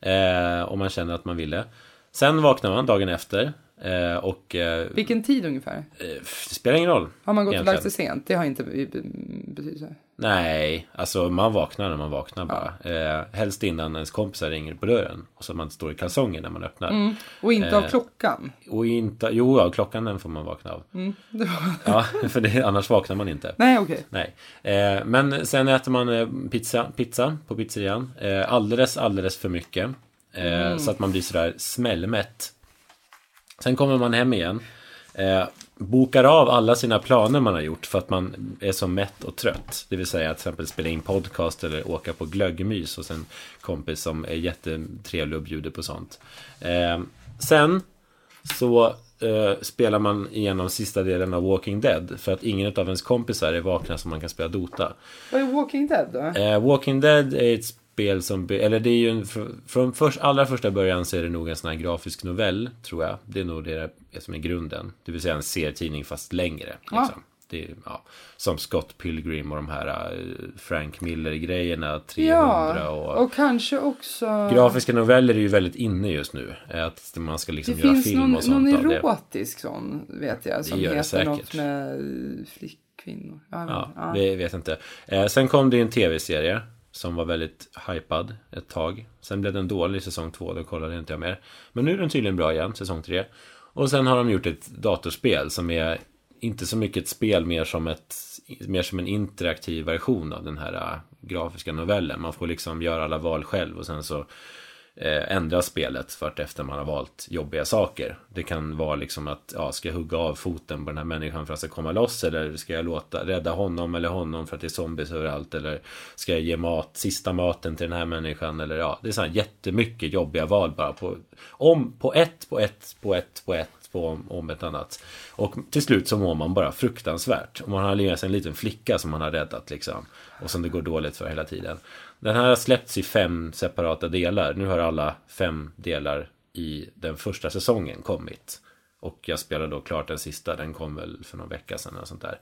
[SPEAKER 2] Eh, om man känner att man vill det. Sen vaknar man dagen efter. Eh, och eh,
[SPEAKER 3] Vilken tid ungefär?
[SPEAKER 2] eh, f- det spelar ingen roll.
[SPEAKER 3] Har man gått och lagt
[SPEAKER 2] egentligen.
[SPEAKER 3] sig sent? Det har inte be- be- betydelse.
[SPEAKER 2] Nej, alltså man vaknar när man vaknar bara. Eh, helst innan ens kompisar ringer på dörren. Och så man inte står i kalsonger när man öppnar.
[SPEAKER 3] Och inte
[SPEAKER 2] Eh.
[SPEAKER 3] av klockan.
[SPEAKER 2] Och inte, jo, ja, klockan den får man vakna av.
[SPEAKER 3] Det var-
[SPEAKER 2] Ja, för det, annars vaknar man inte.
[SPEAKER 3] Nej, okej.
[SPEAKER 2] Nej. Eh, men sen äter man eh, pizza, pizza på pizzerian. Eh, alldeles, alldeles för mycket. Eh, Så att man blir sådär smällmätt. Sen kommer man hem igen. Eh, bokar av alla sina planer man har gjort för att man är så mätt och trött. Det vill säga att till exempel spela in podcast eller åka på glöggmys hos en kompis som är jättetrevlig och bjuder på sånt. Eh, sen så eh, spelar man igenom sista delen av Walking Dead för att ingen av ens kompisar är vakna så man kan spela Dota.
[SPEAKER 3] Vad är Walking Dead då?
[SPEAKER 2] Eh, Walking Dead är ett spel som, by- eller det är ju en, fr- från först, allra första början så är det nog en sån här grafisk novell, tror jag. Det är nog det där som är grunden. Det vill säga en serietidning fast längre. Liksom. Det är, ja, som Scott Pilgrim och de här eh, Frank Miller-grejerna, 300
[SPEAKER 3] ja,
[SPEAKER 2] och...
[SPEAKER 3] och kanske också...
[SPEAKER 2] Grafiska noveller är ju väldigt inne just nu. eh, Att man ska liksom
[SPEAKER 3] det
[SPEAKER 2] göra
[SPEAKER 3] finns
[SPEAKER 2] film
[SPEAKER 3] någon,
[SPEAKER 2] och
[SPEAKER 3] någon
[SPEAKER 2] sånt av det.
[SPEAKER 3] erotisk sån, vet jag, som
[SPEAKER 2] gör det
[SPEAKER 3] heter
[SPEAKER 2] säkert.
[SPEAKER 3] något med eh, flickkvinnor. Ja,
[SPEAKER 2] Ja,
[SPEAKER 3] ja.
[SPEAKER 2] vi vet inte. Eh, sen kom det ju en tv-serie som var väldigt hypad ett tag. Sen blev den dålig i säsong två, då kollade inte jag mer. Men nu är den tydligen bra igen, säsong tre. Och sen har de gjort ett datorspel som är inte så mycket ett spel, mer som, ett, mer som en äh, interaktiv version av den här eh, grafiska novellen. Man får liksom göra alla val själv och sen så eh, ändra spelet vart efter man har valt jobbiga saker. Det kan vara liksom att, ja, ska jag hugga av foten på den här människan för att jag ska komma loss? Eller ska jag låta, rädda honom eller honom för att det är zombies överallt? Eller ska jag ge mat, sista maten till den här människan? Eller ja, det är så här jättemycket jobbiga val bara på, om, på ett, på ett, på ett, på ett på om, om ett annat. Och till slut så mår man bara fruktansvärt. Och man har med sig en liten flicka som man har räddat liksom. Och som det går dåligt för hela tiden. Den här har släppts i fem separata delar. Nu har alla fem delar i den första säsongen kommit. Och jag spelar då klart den sista. Den kom väl för någon vecka sedan eller sånt där.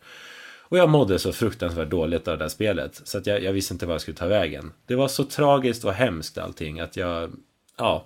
[SPEAKER 2] Och jag mådde så fruktansvärt dåligt av det här spelet. Så att jag, jag visste inte vad jag skulle ta vägen. Det var så tragiskt och hemskt allting att jag... Ja,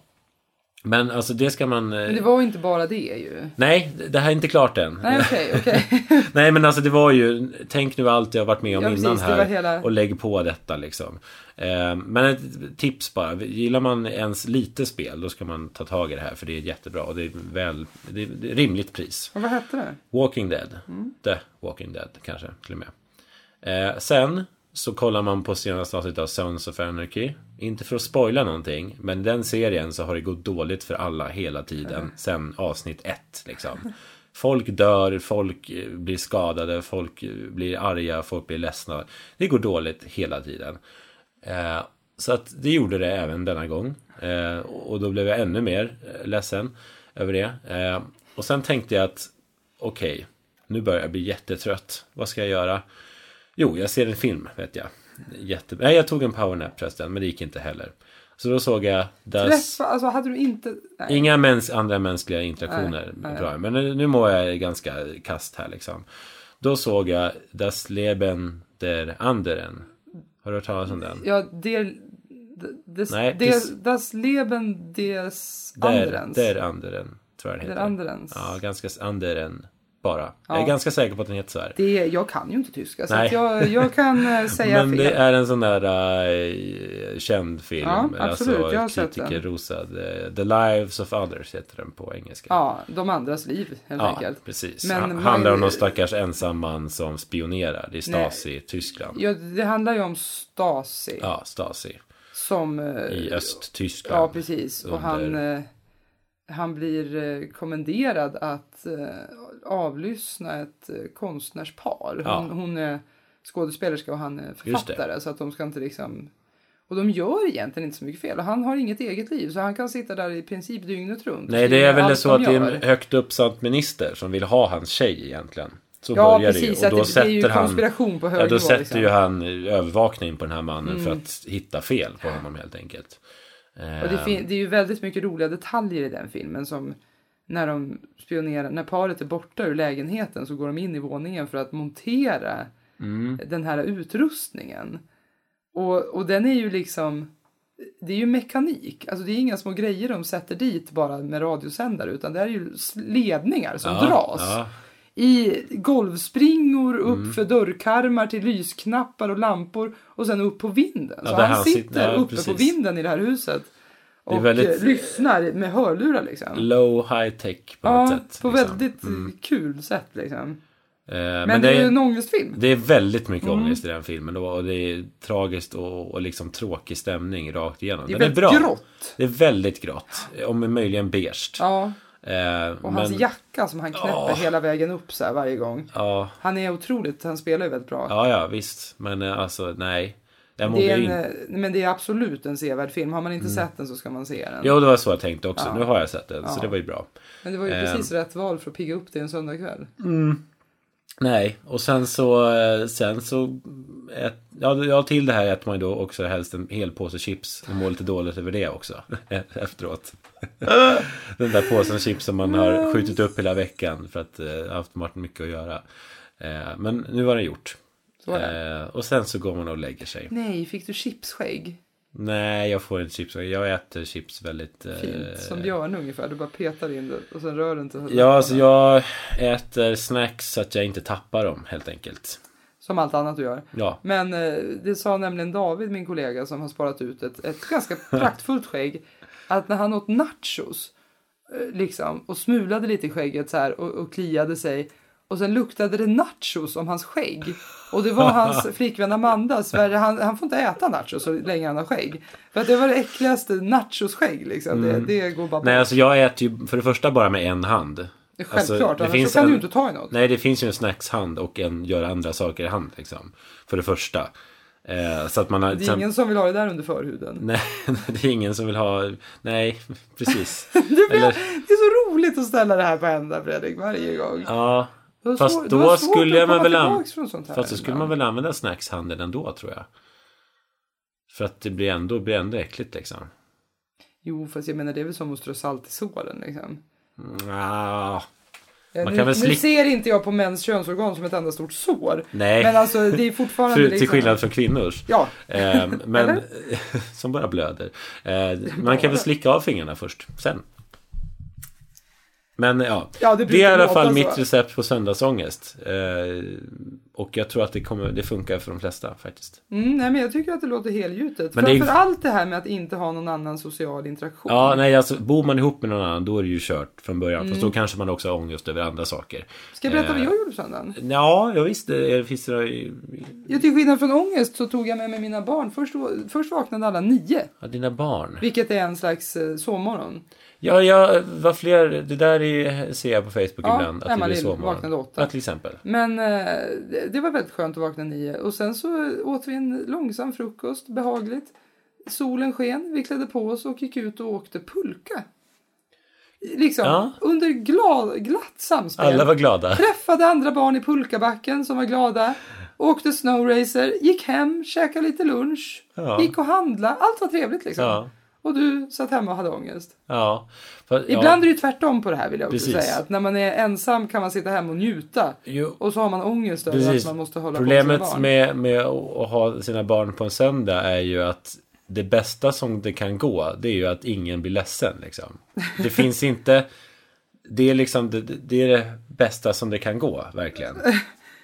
[SPEAKER 2] men alltså det ska man...
[SPEAKER 3] Men det var inte bara det ju.
[SPEAKER 2] Nej, det här är inte klart än.
[SPEAKER 3] Nej, okej, okej.
[SPEAKER 2] Nej men alltså det var ju, tänk nu allt jag har varit med om
[SPEAKER 3] Ja, precis,
[SPEAKER 2] innan
[SPEAKER 3] det var
[SPEAKER 2] här
[SPEAKER 3] hela-
[SPEAKER 2] och lägg på detta liksom. Eh, Men ett tips bara, gillar man ens lite spel då ska man ta tag i det här för det är jättebra och det är väl, det är det är rimligt pris.
[SPEAKER 3] Vad hette det?
[SPEAKER 2] Walking Dead. The Walking Dead kanske till och med. Eh, sen så kollar man på senaste avsnittet av Sons of Anarchy. Inte för att spoila någonting, men i den serien så har det gått dåligt för alla hela tiden sen avsnitt ett. Liksom. Folk dör, folk eh, blir skadade, folk eh, blir arga, folk blir ledsna. Det går dåligt hela tiden. Eh, så att det gjorde det även denna gång. Eh, och då blev jag ännu mer eh, ledsen över det. Eh, och sen tänkte jag att okej, nu börjar jag bli jättetrött. Vad ska jag göra? Jo, jag ser en film, vet jag. Jätte... Nej, jag tog en powernap förresten, men det gick inte heller. Så då såg jag... Das...
[SPEAKER 3] Träffa, alltså hade du inte... Nej.
[SPEAKER 2] Inga mäns, andra mänskliga interaktioner. Bra. Men nu, nu mår jag ganska kast här liksom. Då såg jag Das Leben der Anderen. Har du hört talas om den?
[SPEAKER 3] Ja, det... Des,
[SPEAKER 2] Nej,
[SPEAKER 3] des,
[SPEAKER 2] precis.
[SPEAKER 3] das Leben des
[SPEAKER 2] Der,
[SPEAKER 3] Anderens.
[SPEAKER 2] der Anderen, tror jag den
[SPEAKER 3] Der
[SPEAKER 2] heter.
[SPEAKER 3] Anderens.
[SPEAKER 2] Ja, ganska s- Anderen bara. Jag är ganska säker på att den heter så här.
[SPEAKER 3] Det, jag kan ju inte tyska, så
[SPEAKER 2] Nej.
[SPEAKER 3] att jag, jag kan eh, säga
[SPEAKER 2] Men
[SPEAKER 3] fel.
[SPEAKER 2] det är en sån där äh, känd film.
[SPEAKER 3] Ja, absolut.
[SPEAKER 2] alltså
[SPEAKER 3] Jag har sett den.
[SPEAKER 2] kritikerrosad. eh, The Lives of Others heter den på engelska.
[SPEAKER 3] Ja, de andras liv, helt enkelt.
[SPEAKER 2] precis.
[SPEAKER 3] Men
[SPEAKER 2] Men,
[SPEAKER 3] man-
[SPEAKER 2] handlar om någon stackars ensam man som spionerar. Det är Stasi, Tyskland.
[SPEAKER 3] Ja, det handlar ju om Stasi
[SPEAKER 2] Ja, Stasi.
[SPEAKER 3] som... eh,
[SPEAKER 2] I Östtyskland.
[SPEAKER 3] Ja, precis. Och han, eh, han blir eh, kommenderad att eh, avlyssna ett eh, konstnärspar. Hon,
[SPEAKER 2] Ja.
[SPEAKER 3] hon är skådespelerska och han är
[SPEAKER 2] Just det.
[SPEAKER 3] författare. Så att de ska inte liksom... Och de gör egentligen inte så mycket fel. Och han har inget eget liv. Så han kan sitta där i princip dygnet runt. och
[SPEAKER 2] Nej, det
[SPEAKER 3] skriva
[SPEAKER 2] är väl
[SPEAKER 3] allt
[SPEAKER 2] så
[SPEAKER 3] de
[SPEAKER 2] att det är
[SPEAKER 3] gör.
[SPEAKER 2] en högt uppsatt minister som vill ha hans tjej egentligen. Så
[SPEAKER 3] Ja,
[SPEAKER 2] börjar
[SPEAKER 3] precis,
[SPEAKER 2] det ju.
[SPEAKER 3] att
[SPEAKER 2] Och då
[SPEAKER 3] det- det är ju
[SPEAKER 2] sätter han...
[SPEAKER 3] konspiration på hög
[SPEAKER 2] Ja, då
[SPEAKER 3] nivå,
[SPEAKER 2] sätter
[SPEAKER 3] liksom. Mm.
[SPEAKER 2] ju han övervakning på den här mannen för att hitta fel på honom helt enkelt.
[SPEAKER 3] Och det,
[SPEAKER 2] Eh,
[SPEAKER 3] fin- det är ju väldigt mycket roliga detaljer i den filmen som när de spionerar, när paret är borta ur lägenheten så går de in i våningen för att montera
[SPEAKER 2] Mm.
[SPEAKER 3] den här utrustningen. Och, och den är ju liksom, det är ju mekanik, alltså det är inga små grejer de sätter dit bara med radiosändare utan det är ju s- ledningar som
[SPEAKER 2] Ja,
[SPEAKER 3] dras.
[SPEAKER 2] ja.
[SPEAKER 3] I golvspringor, upp
[SPEAKER 2] Mm.
[SPEAKER 3] för dörrkarmar till lysknappar och lampor och sen upp på vinden.
[SPEAKER 2] Ja,
[SPEAKER 3] så
[SPEAKER 2] där
[SPEAKER 3] han,
[SPEAKER 2] han
[SPEAKER 3] sitter
[SPEAKER 2] sitter- ja,
[SPEAKER 3] uppe på
[SPEAKER 2] precis.
[SPEAKER 3] vinden i det här huset.
[SPEAKER 2] är
[SPEAKER 3] Och
[SPEAKER 2] väldigt-
[SPEAKER 3] eh, lyssnar med hörlurar liksom.
[SPEAKER 2] Low high tech på något
[SPEAKER 3] Ja,
[SPEAKER 2] sätt.
[SPEAKER 3] på
[SPEAKER 2] liksom.
[SPEAKER 3] väldigt eh, kul sätt liksom. Men,
[SPEAKER 2] Eh, men,
[SPEAKER 3] det är ju Mm.
[SPEAKER 2] är-
[SPEAKER 3] en ångestfilm.
[SPEAKER 2] Det är väldigt mycket ångest i den filmen då, och det är tragiskt och, och liksom tråkig stämning rakt igenom.
[SPEAKER 3] Det är
[SPEAKER 2] den är
[SPEAKER 3] väldigt
[SPEAKER 2] bra.
[SPEAKER 3] grått.
[SPEAKER 2] Det är väldigt grått. Om möjligen beige.
[SPEAKER 3] Ja,
[SPEAKER 2] Eh, men,
[SPEAKER 3] och hans jacka som han knäpper
[SPEAKER 2] Ja.
[SPEAKER 3] hela vägen upp så här varje gång.
[SPEAKER 2] ja,
[SPEAKER 3] Han är otroligt, han spelar ju väldigt bra.
[SPEAKER 2] ja, ja, visst. Men eh, alltså, nej. Jag
[SPEAKER 3] det
[SPEAKER 2] mådde
[SPEAKER 3] är en,
[SPEAKER 2] inte...
[SPEAKER 3] eh, men det är absolut en sevärd film. Har man inte
[SPEAKER 2] Mm.
[SPEAKER 3] sett den så ska man se den.
[SPEAKER 2] Jo, det var så jag tänkte också. Nu har jag sett den, så det var ju bra.
[SPEAKER 3] Men det var ju precis
[SPEAKER 2] Ehm.
[SPEAKER 3] rätt val för att pigga upp det en söndagkväll.
[SPEAKER 2] Nej, och sen så... eh, Sen så ät, ja, ja, till det här äter man ju då också helst en hel påse chips och mår lite dåligt över det också efteråt. Den där påsen chips som man har skjutit upp hela veckan för att eh, jag har haft varit mycket att göra. Eh, men nu var det gjort.
[SPEAKER 3] Så var det.
[SPEAKER 2] Eh, och sen så går man och lägger sig.
[SPEAKER 3] Nej, fick du chipsskägg?
[SPEAKER 2] Nej, jag får inte chips. Jag äter chips väldigt... eh,
[SPEAKER 3] Fint, som björn ungefär. Du bara petar in det och sen rör du inte.
[SPEAKER 2] Ja, alltså jag äter snacks så att jag inte tappar dem helt enkelt.
[SPEAKER 3] Som allt annat du gör.
[SPEAKER 2] Ja,
[SPEAKER 3] Men eh, det sa nämligen David, min kollega som har sparat ut ett, ett ganska praktfullt skägg. Att när han åt nachos eh, liksom, och smulade lite i skägget så här, och, och kliade sig. Och sen luktade det nachos om hans skägg. Och det var hans flickvän Amanda. Sverre, han, han får inte äta nachos så länge han har skägg. För att det var det äckligaste nachos-skägg liksom. Det, det går bara
[SPEAKER 2] Nej, alltså jag äter ju för det första bara med en hand.
[SPEAKER 3] Självklart,
[SPEAKER 2] det
[SPEAKER 3] annars så
[SPEAKER 2] finns
[SPEAKER 3] kan du
[SPEAKER 2] en-
[SPEAKER 3] ju inte ta i något.
[SPEAKER 2] Nej, det finns ju en snackshand och en göra andra saker i hand liksom. För det första. Eh, så att man har...
[SPEAKER 3] Det är ingen som vill ha det där under förhuden.
[SPEAKER 2] Nej, det är ingen som vill ha... Nej, precis.
[SPEAKER 3] Det, blir,
[SPEAKER 2] Eller-
[SPEAKER 3] det är så roligt att ställa det här på ända Fredrik, varje gång.
[SPEAKER 2] Ja,
[SPEAKER 3] Det var
[SPEAKER 2] fast
[SPEAKER 3] svår- det
[SPEAKER 2] då
[SPEAKER 3] var svårt
[SPEAKER 2] skulle
[SPEAKER 3] att
[SPEAKER 2] man
[SPEAKER 3] komma
[SPEAKER 2] väl an-
[SPEAKER 3] tillbaks från sånt här
[SPEAKER 2] fast då skulle
[SPEAKER 3] ibland.
[SPEAKER 2] man väl använda snackshanden ändå tror jag. För att det blir ändå, blir ändå äckligt liksom.
[SPEAKER 3] Jo, fast jag menar det är väl som att strö salt i såren liksom.
[SPEAKER 2] Nja,
[SPEAKER 3] Ja,
[SPEAKER 2] Man
[SPEAKER 3] nu,
[SPEAKER 2] kan väl
[SPEAKER 3] nu
[SPEAKER 2] slick-
[SPEAKER 3] ser inte jag på mäns könsorgan som ett enda stort sår.
[SPEAKER 2] Nej.
[SPEAKER 3] Men alltså det är fortfarande
[SPEAKER 2] För, till
[SPEAKER 3] liksom-
[SPEAKER 2] skillnad från kvinnors.
[SPEAKER 3] Ja.
[SPEAKER 2] Eh, men, som bara blöder. Eh, man kan väl slicka av fingrarna först, sen. Men ja,
[SPEAKER 3] Ja,
[SPEAKER 2] det är i
[SPEAKER 3] det brukar
[SPEAKER 2] alla
[SPEAKER 3] låta
[SPEAKER 2] fall
[SPEAKER 3] så.
[SPEAKER 2] mitt recept på söndagsångest. Eh, och jag tror att det, kommer, det funkar för de flesta faktiskt.
[SPEAKER 3] Mm, nej, men jag tycker att det låter helgjutet.
[SPEAKER 2] Men det är-
[SPEAKER 3] Framförallt det här med att inte ha någon annan social interaktion.
[SPEAKER 2] Ja, nej, alltså bor man ihop med någon annan då är det ju kört från början. Fast
[SPEAKER 3] Mm.
[SPEAKER 2] då kanske man också har ångest över andra saker.
[SPEAKER 3] Ska jag berätta vad
[SPEAKER 2] Eh,
[SPEAKER 3] jag gjorde på söndagen?
[SPEAKER 2] Ja, eh, jag visste. Det finns det,
[SPEAKER 3] Jag till skillnad från ångest så tog jag med mig mina barn. Först, först vaknade alla nio,
[SPEAKER 2] ja, dina barn.
[SPEAKER 3] vilket är en slags eh, sovmorgon.
[SPEAKER 2] Ja, ja, vad fler. Det där är, ser jag på Facebook
[SPEAKER 3] Ja,
[SPEAKER 2] ibland. Att det
[SPEAKER 3] Emma
[SPEAKER 2] blir
[SPEAKER 3] Lill
[SPEAKER 2] sovmorgon.
[SPEAKER 3] vaknade åtta.
[SPEAKER 2] Ja, till exempel.
[SPEAKER 3] Men eh, det- det var väldigt skönt att vakna nio. Och sen så åt vi en långsam frukost, behagligt. Solen sken, vi klädde på oss och gick ut och åkte pulka. Liksom,
[SPEAKER 2] Ja.
[SPEAKER 3] under gla- glatt samspel.
[SPEAKER 2] Alla var glada.
[SPEAKER 3] Träffade andra barn i pulkabacken som var glada. Åkte snowracer, gick hem, käkade lite lunch,
[SPEAKER 2] Ja.
[SPEAKER 3] gick och handlade. Allt var trevligt liksom.
[SPEAKER 2] Ja.
[SPEAKER 3] Och du satt hemma och hade ångest.
[SPEAKER 2] Ja. Fast,
[SPEAKER 3] Ibland är det ju tvärtom på det här vill jag också
[SPEAKER 2] Precis.
[SPEAKER 3] säga. Att när man är ensam kan man sitta hemma och njuta.
[SPEAKER 2] ja, jo,
[SPEAKER 3] Och så har man ångest över
[SPEAKER 2] precis.
[SPEAKER 3] att man måste hålla
[SPEAKER 2] Problemet
[SPEAKER 3] på sina barn.
[SPEAKER 2] med, med att ha sina barn på en söndag är ju att det bästa som det kan gå, det är ju att ingen blir ledsen. Liksom. Det finns inte... Det är liksom det, det- det, är det bästa som det kan gå, verkligen.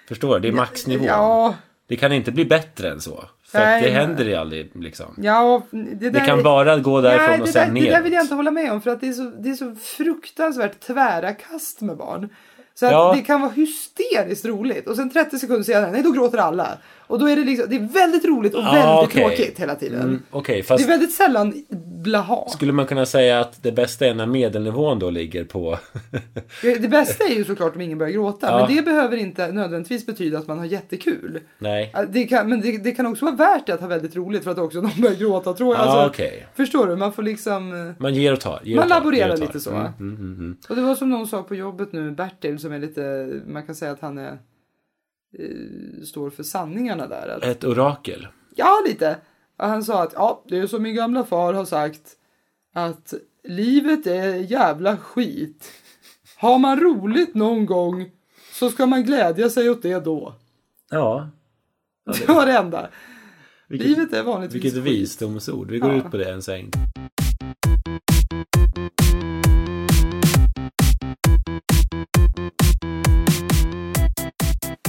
[SPEAKER 2] Förstår du? Det är maxnivån.
[SPEAKER 3] Ja,
[SPEAKER 2] Det kan inte bli bättre än så. För
[SPEAKER 3] Nej,
[SPEAKER 2] att det
[SPEAKER 3] men-
[SPEAKER 2] händer ju aldrig, liksom.
[SPEAKER 3] ja, det där
[SPEAKER 2] Det kan
[SPEAKER 3] är-
[SPEAKER 2] bara gå därifrån
[SPEAKER 3] Nej,
[SPEAKER 2] och
[SPEAKER 3] det,
[SPEAKER 2] sen
[SPEAKER 3] där, det där vill jag
[SPEAKER 2] ner.
[SPEAKER 3] inte hålla med om för att det är så, det är så fruktansvärt tvära kast med barn. Så att
[SPEAKER 2] Ja.
[SPEAKER 3] det kan vara hysteriskt roligt och sen 30 sekunder senare, nej då gråter alla. Och då är det liksom, det är väldigt roligt och
[SPEAKER 2] Ja,
[SPEAKER 3] väldigt
[SPEAKER 2] okej.
[SPEAKER 3] tråkigt hela tiden.
[SPEAKER 2] Mm, Okej,
[SPEAKER 3] Det
[SPEAKER 2] fast
[SPEAKER 3] är väldigt sällan blaha.
[SPEAKER 2] skulle man kunna säga att det bästa är när medelnivån då ligger på...
[SPEAKER 3] Det bästa är ju såklart om ingen börjar gråta,
[SPEAKER 2] Ja.
[SPEAKER 3] men det behöver inte nödvändigtvis betyda att man har jättekul.
[SPEAKER 2] Nej.
[SPEAKER 3] Ja, Alltså, Det kan, men det, det kan också vara värt det att ha väldigt roligt för att också någon börjar gråta tror jag.
[SPEAKER 2] Ja,
[SPEAKER 3] Alltså,
[SPEAKER 2] okej.
[SPEAKER 3] Förstår du? Man får liksom... eh,
[SPEAKER 2] Man ger och tar. Ger
[SPEAKER 3] Man
[SPEAKER 2] och tar,
[SPEAKER 3] laborerar
[SPEAKER 2] ger och tar.
[SPEAKER 3] lite så,
[SPEAKER 2] Mm,
[SPEAKER 3] va?
[SPEAKER 2] mm, mm, mm.
[SPEAKER 3] Och det var som någon sa på jobbet nu, Bertil som är lite, man kan säga att han är, eh, står för sanningarna där. Att,
[SPEAKER 2] Ett orakel.
[SPEAKER 3] ja, lite. Och han sa att, ja, det är som min gamla far har sagt, att livet är jävla skit. Har man roligt någon gång så ska man glädja sig åt det då.
[SPEAKER 2] Ja,
[SPEAKER 3] Det var det enda.
[SPEAKER 2] vilket,
[SPEAKER 3] Livet är vanligtvis
[SPEAKER 2] vilket
[SPEAKER 3] skit.
[SPEAKER 2] visdomsord. Vi går
[SPEAKER 3] Ja.
[SPEAKER 2] ut på det en sväng.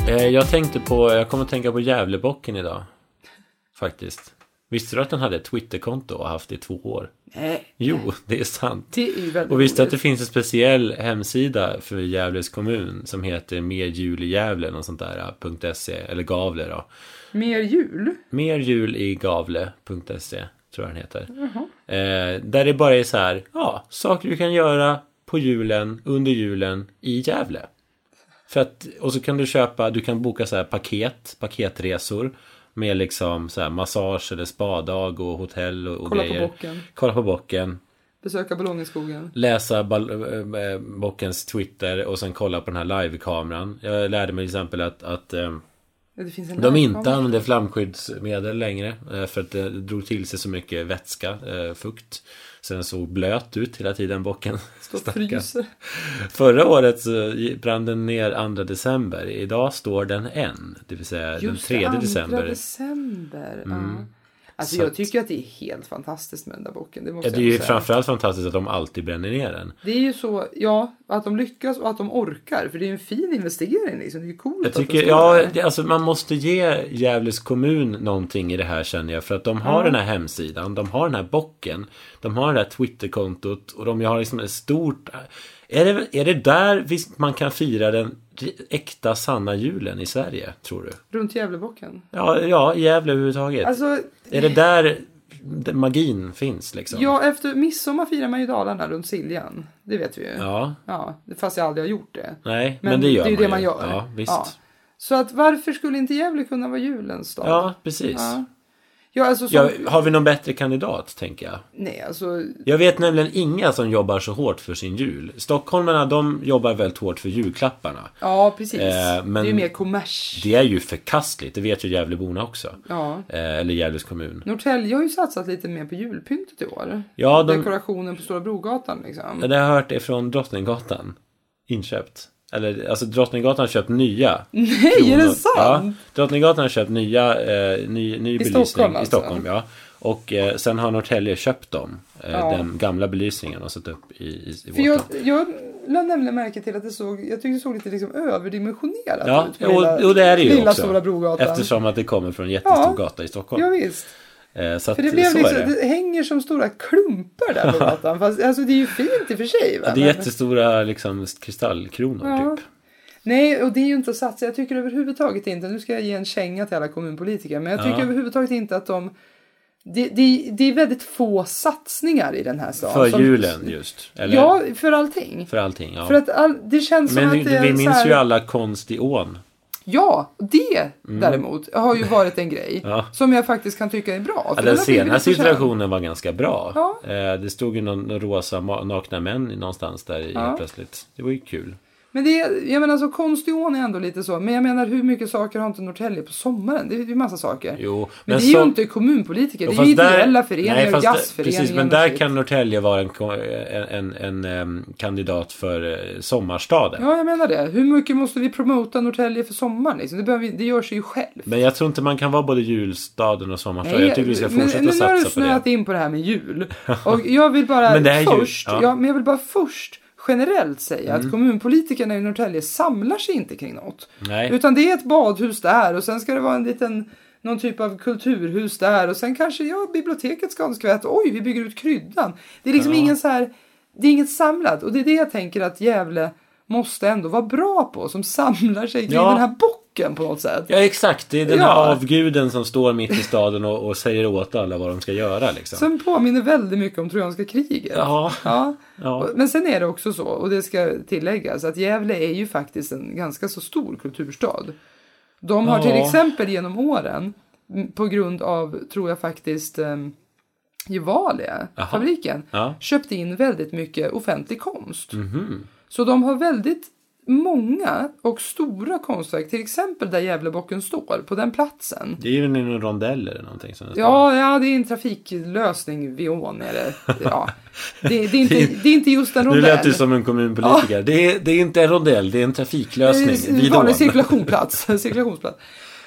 [SPEAKER 2] Eh, Jag tänkte på, jag kommer att tänka på Gävlebocken idag. Faktiskt. Visste du att den hade ett Twitterkonto och har haft det i två år?
[SPEAKER 3] Nej,
[SPEAKER 2] Jo, det är sant.
[SPEAKER 3] det är ju väldigt
[SPEAKER 2] Och visste att
[SPEAKER 3] roligt.
[SPEAKER 2] det finns en speciell hemsida för Gävles kommun som heter Mer jul i Gävle, något sånt där, eh, .se, eller Gavle då.
[SPEAKER 3] Mer jul?
[SPEAKER 2] Mer jul i Gavle.se, E, tror jag den heter. Eh, där det bara är så här, ja, saker du kan göra på julen, under julen, i Gävle. För att, och så kan du köpa, du kan boka så här paket, paketresor. Med liksom så här massage eller spadag och hotell och, och
[SPEAKER 3] Kolla på
[SPEAKER 2] grejer.
[SPEAKER 3] bocken.
[SPEAKER 2] Kolla på bocken
[SPEAKER 3] Besöka ballongenskogen?
[SPEAKER 2] läsa bal- eh, eh, bockens Twitter och sen kolla på den här livekameran. Jag lärde mig till exempel att, att eh,
[SPEAKER 3] Ja, Det finns en
[SPEAKER 2] de
[SPEAKER 3] livekamera.
[SPEAKER 2] inte använder flamskyddsmedel längre eh, för att det drog till sig så mycket vätska, eh, fukt. Så den såg blöt ut hela tiden, bocken.
[SPEAKER 3] Står och
[SPEAKER 2] Stackarn.
[SPEAKER 3] fryser.
[SPEAKER 2] Förra året så brann den ner 2 december. Idag står den än, det vill säga
[SPEAKER 3] Just
[SPEAKER 2] den 3
[SPEAKER 3] det,
[SPEAKER 2] december. Mm.
[SPEAKER 3] andra december. Ja. Alltså
[SPEAKER 2] Så
[SPEAKER 3] jag
[SPEAKER 2] att-
[SPEAKER 3] tycker att det är helt fantastiskt med den där bocken. Det, måste
[SPEAKER 2] Ja, det är ju
[SPEAKER 3] jag säga.
[SPEAKER 2] framförallt fantastiskt att de alltid bränner ner den.
[SPEAKER 3] det är ju så, ja, att de lyckas och att de orkar. För det är ju en fin investering liksom. Det är ju coolt
[SPEAKER 2] Jag
[SPEAKER 3] att de
[SPEAKER 2] tycker,
[SPEAKER 3] står
[SPEAKER 2] ja,
[SPEAKER 3] där.
[SPEAKER 2] det, alltså man måste ge Gävles kommun någonting i det här känner jag. För att de har den här hemsidan, de har den här bocken, de har det här Twitterkontot och de har liksom ett stort Är det, är det där vi, man kan fira den äkta sanna julen i Sverige, tror du?
[SPEAKER 3] Runt Gävlebocken.
[SPEAKER 2] Ja, ja i Gävle överhuvudtaget.
[SPEAKER 3] Alltså,
[SPEAKER 2] är det där den magin finns liksom?
[SPEAKER 3] ja, efter midsommar firar man ju Dalarna runt Siljan. Det vet vi ju.
[SPEAKER 2] Ja,
[SPEAKER 3] Ja, fast jag aldrig har gjort det.
[SPEAKER 2] nej, men,
[SPEAKER 3] Men
[SPEAKER 2] det gör
[SPEAKER 3] det är ju
[SPEAKER 2] man
[SPEAKER 3] det man
[SPEAKER 2] ju.
[SPEAKER 3] gör.
[SPEAKER 2] Ja, visst. Ja,
[SPEAKER 3] Ja. Så att varför skulle inte Gävle kunna vara julens dag?
[SPEAKER 2] precis.
[SPEAKER 3] Ja. Ja, alltså som,
[SPEAKER 2] Ja, har vi någon bättre kandidat, tänker jag?
[SPEAKER 3] Nej, alltså.
[SPEAKER 2] Jag vet nämligen inga som jobbar så hårt för sin jul. Stockholmarna, de jobbar väldigt hårt för julklapparna.
[SPEAKER 3] Ja, precis.
[SPEAKER 2] Eh, men-
[SPEAKER 3] Det är ju mer kommers.
[SPEAKER 2] Det är ju förkastligt, det vet ju Gävleborna också.
[SPEAKER 3] Ja.
[SPEAKER 2] Eh, eller Gävles kommun.
[SPEAKER 3] Norrtälje har ju satsat lite mer på julpyntet i år.
[SPEAKER 2] Ja, de,
[SPEAKER 3] Dekorationen på Stora Brogatan liksom.
[SPEAKER 2] Ja, Det har jag hört är från Drottninggatan. Inköpt. Eller alltså Drottninggatan har köpt nya.
[SPEAKER 3] Nej, är det
[SPEAKER 2] kronor.
[SPEAKER 3] sant?
[SPEAKER 2] Ja, Drottninggatan har köpt nya, eh, ny, ny belysning
[SPEAKER 3] Stockholm,
[SPEAKER 2] i
[SPEAKER 3] alltså?
[SPEAKER 2] Stockholm. Ja. Och eh, sen har Norrtälje köpt dem. Eh,
[SPEAKER 3] Ja.
[SPEAKER 2] Den gamla belysningen och satt upp i, i, i
[SPEAKER 3] För
[SPEAKER 2] vårt
[SPEAKER 3] jag,
[SPEAKER 2] land.
[SPEAKER 3] jag lade nämligen märke till att det såg, jag tyckte det såg lite liksom överdimensionerat
[SPEAKER 2] Ja,
[SPEAKER 3] ut. på lilla-
[SPEAKER 2] och, och det är det ju
[SPEAKER 3] lilla
[SPEAKER 2] också.
[SPEAKER 3] Stora Brogatan.
[SPEAKER 2] Eftersom att det kommer från en jättestor
[SPEAKER 3] Ja.
[SPEAKER 2] gata i Stockholm.
[SPEAKER 3] Ja, visst.
[SPEAKER 2] Eh, så att,
[SPEAKER 3] För det blev
[SPEAKER 2] så
[SPEAKER 3] liksom,
[SPEAKER 2] är det.
[SPEAKER 3] det hänger som stora klumpar där på gatan. Fast alltså det är ju fint i och för sig. Va?
[SPEAKER 2] Ja, det är
[SPEAKER 3] Men-
[SPEAKER 2] jättestora liksom, kristallkronor
[SPEAKER 3] Ja.
[SPEAKER 2] typ.
[SPEAKER 3] Nej, och det är ju inte att satsa. Jag tycker överhuvudtaget inte, nu ska jag ge en känga till alla kommunpolitiker, men jag tycker
[SPEAKER 2] Ja.
[SPEAKER 3] överhuvudtaget inte att de... Det, det, det är väldigt få satsningar i den här staden.
[SPEAKER 2] För
[SPEAKER 3] som-
[SPEAKER 2] julen just. Eller
[SPEAKER 3] Ja, för allting.
[SPEAKER 2] för allting. Ja.
[SPEAKER 3] För att all, det känns
[SPEAKER 2] Men
[SPEAKER 3] som att det är
[SPEAKER 2] vi
[SPEAKER 3] så
[SPEAKER 2] minns
[SPEAKER 3] här,
[SPEAKER 2] ju alla konst i ån.
[SPEAKER 3] Ja, det däremot har ju varit en grej
[SPEAKER 2] Ja.
[SPEAKER 3] som jag faktiskt kan tycka är bra.
[SPEAKER 2] Ja,
[SPEAKER 3] för
[SPEAKER 2] den
[SPEAKER 3] har blivit
[SPEAKER 2] senaste
[SPEAKER 3] lite förtjänt.
[SPEAKER 2] situationen var ganska bra.
[SPEAKER 3] Ja.
[SPEAKER 2] Eh, Det stod ju någon någon rosa ma- nakna män någonstans där i-
[SPEAKER 3] Ja.
[SPEAKER 2] plötsligt. Det var ju kul.
[SPEAKER 3] Men det, är- jag menar alltså, så konstiån är ändå lite så. Men jag menar hur mycket saker har inte Norrtälje på sommaren? Det är ju massa saker.
[SPEAKER 2] Jo,
[SPEAKER 3] men, det är ju inte kommunpolitiker.
[SPEAKER 2] Jo,
[SPEAKER 3] Det är
[SPEAKER 2] fast
[SPEAKER 3] ju
[SPEAKER 2] där-
[SPEAKER 3] ideella föreningar
[SPEAKER 2] nej,
[SPEAKER 3] och
[SPEAKER 2] fast där-
[SPEAKER 3] jazzföreningar.
[SPEAKER 2] Precis, men
[SPEAKER 3] och
[SPEAKER 2] där
[SPEAKER 3] shit.
[SPEAKER 2] kan Norrtälje vara en, ko- en, en, en, em, kandidat för eh, sommarstaden.
[SPEAKER 3] Ja, jag menar det. Hur mycket måste vi promota Norrtälje för sommaren? Liksom? Det, behöver vi, det gör sig ju själv.
[SPEAKER 2] Men jag tror inte man kan vara både julstaden och sommarstaden. jag tycker vi ska
[SPEAKER 3] men,
[SPEAKER 2] fortsätta
[SPEAKER 3] men nu har du
[SPEAKER 2] satsa på det.
[SPEAKER 3] snurrat in på det här med jul. Och jag vill bara
[SPEAKER 2] Men det är jul,
[SPEAKER 3] först,
[SPEAKER 2] ja. Mm.
[SPEAKER 3] ja. men jag vill bara först generellt säga att kommunpolitikerna i Norrtälje samlar sig inte kring något.
[SPEAKER 2] Nej.
[SPEAKER 3] Utan det är ett badhus där och sen ska det vara en liten någon typ av kulturhus där och sen kanske ja, biblioteket ska ha en skvätt. Oj, vi bygger ut kryddan. Det är liksom ingen så här. Det är inget samlat och det är det jag tänker att Gävle måste ändå vara bra på som samlar sig kring
[SPEAKER 2] Ja.
[SPEAKER 3] den här bocken på något sätt.
[SPEAKER 2] Ja exakt, det är den
[SPEAKER 3] Ja.
[SPEAKER 2] här avguden som står mitt i staden och, och säger åt alla vad de ska göra liksom.
[SPEAKER 3] Som påminner väldigt mycket om Trojanska kriget.
[SPEAKER 2] Ja.
[SPEAKER 3] Ja.
[SPEAKER 2] Ja.
[SPEAKER 3] Och- Men sen är det också så, och det ska tilläggas, att Gävle är ju faktiskt en ganska så stor kulturstad. De har till
[SPEAKER 2] Ja.
[SPEAKER 3] exempel genom åren, m, på grund av, tror jag faktiskt, um, Gevalia,
[SPEAKER 2] Jaha.
[SPEAKER 3] fabriken,
[SPEAKER 2] Ja.
[SPEAKER 3] köpt in väldigt mycket offentlig konst.
[SPEAKER 2] Mhm.
[SPEAKER 3] Så de har väldigt många och stora konstverk, till exempel där Gävlebocken står, på den platsen.
[SPEAKER 2] Det är ju en rondell eller någonting som det står.
[SPEAKER 3] Ja, ja, det är en trafiklösning vid ån. är det. Ja. Det, det, är inte, det är inte just en
[SPEAKER 2] Nu
[SPEAKER 3] rondell.
[SPEAKER 2] lät du som en kommunpolitiker. Det, är, det är inte en rondell, det är en trafiklösning
[SPEAKER 3] Det är
[SPEAKER 2] vid
[SPEAKER 3] en vanlig
[SPEAKER 2] ån.
[SPEAKER 3] cirkulationsplats. cirkulationsplats.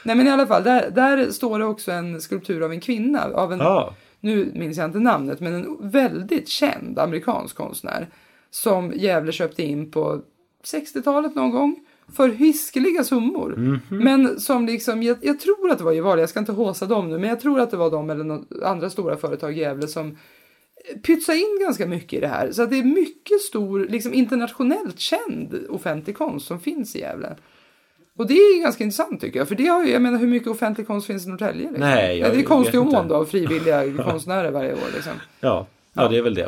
[SPEAKER 3] Nej, men i alla fall, där, där står det också en skulptur av en kvinna. Av en,
[SPEAKER 2] Ja.
[SPEAKER 3] Nu minns jag inte namnet, men en väldigt känd amerikansk konstnär. Som Gävle köpte in på 60-talet någon gång. För hiskeliga summor.
[SPEAKER 2] Mhm.
[SPEAKER 3] Men som liksom, jag, jag tror att det var Gevalia, jag ska inte håsa dem nu, men jag tror att det var de eller något, andra stora företag i Gävle som pytsa in ganska mycket i det här. Så att det är mycket stor, liksom internationellt känd offentlig konst som finns i Gävle. Och det är ju ganska intressant tycker jag. För det har ju, jag menar hur mycket offentlig konst finns i Norrtälje? Liksom?
[SPEAKER 2] Nej, jag
[SPEAKER 3] det är konst i
[SPEAKER 2] vet inte.
[SPEAKER 3] ån då, av frivilliga konstnärer varje år liksom.
[SPEAKER 2] Ja. ja, det är väl det.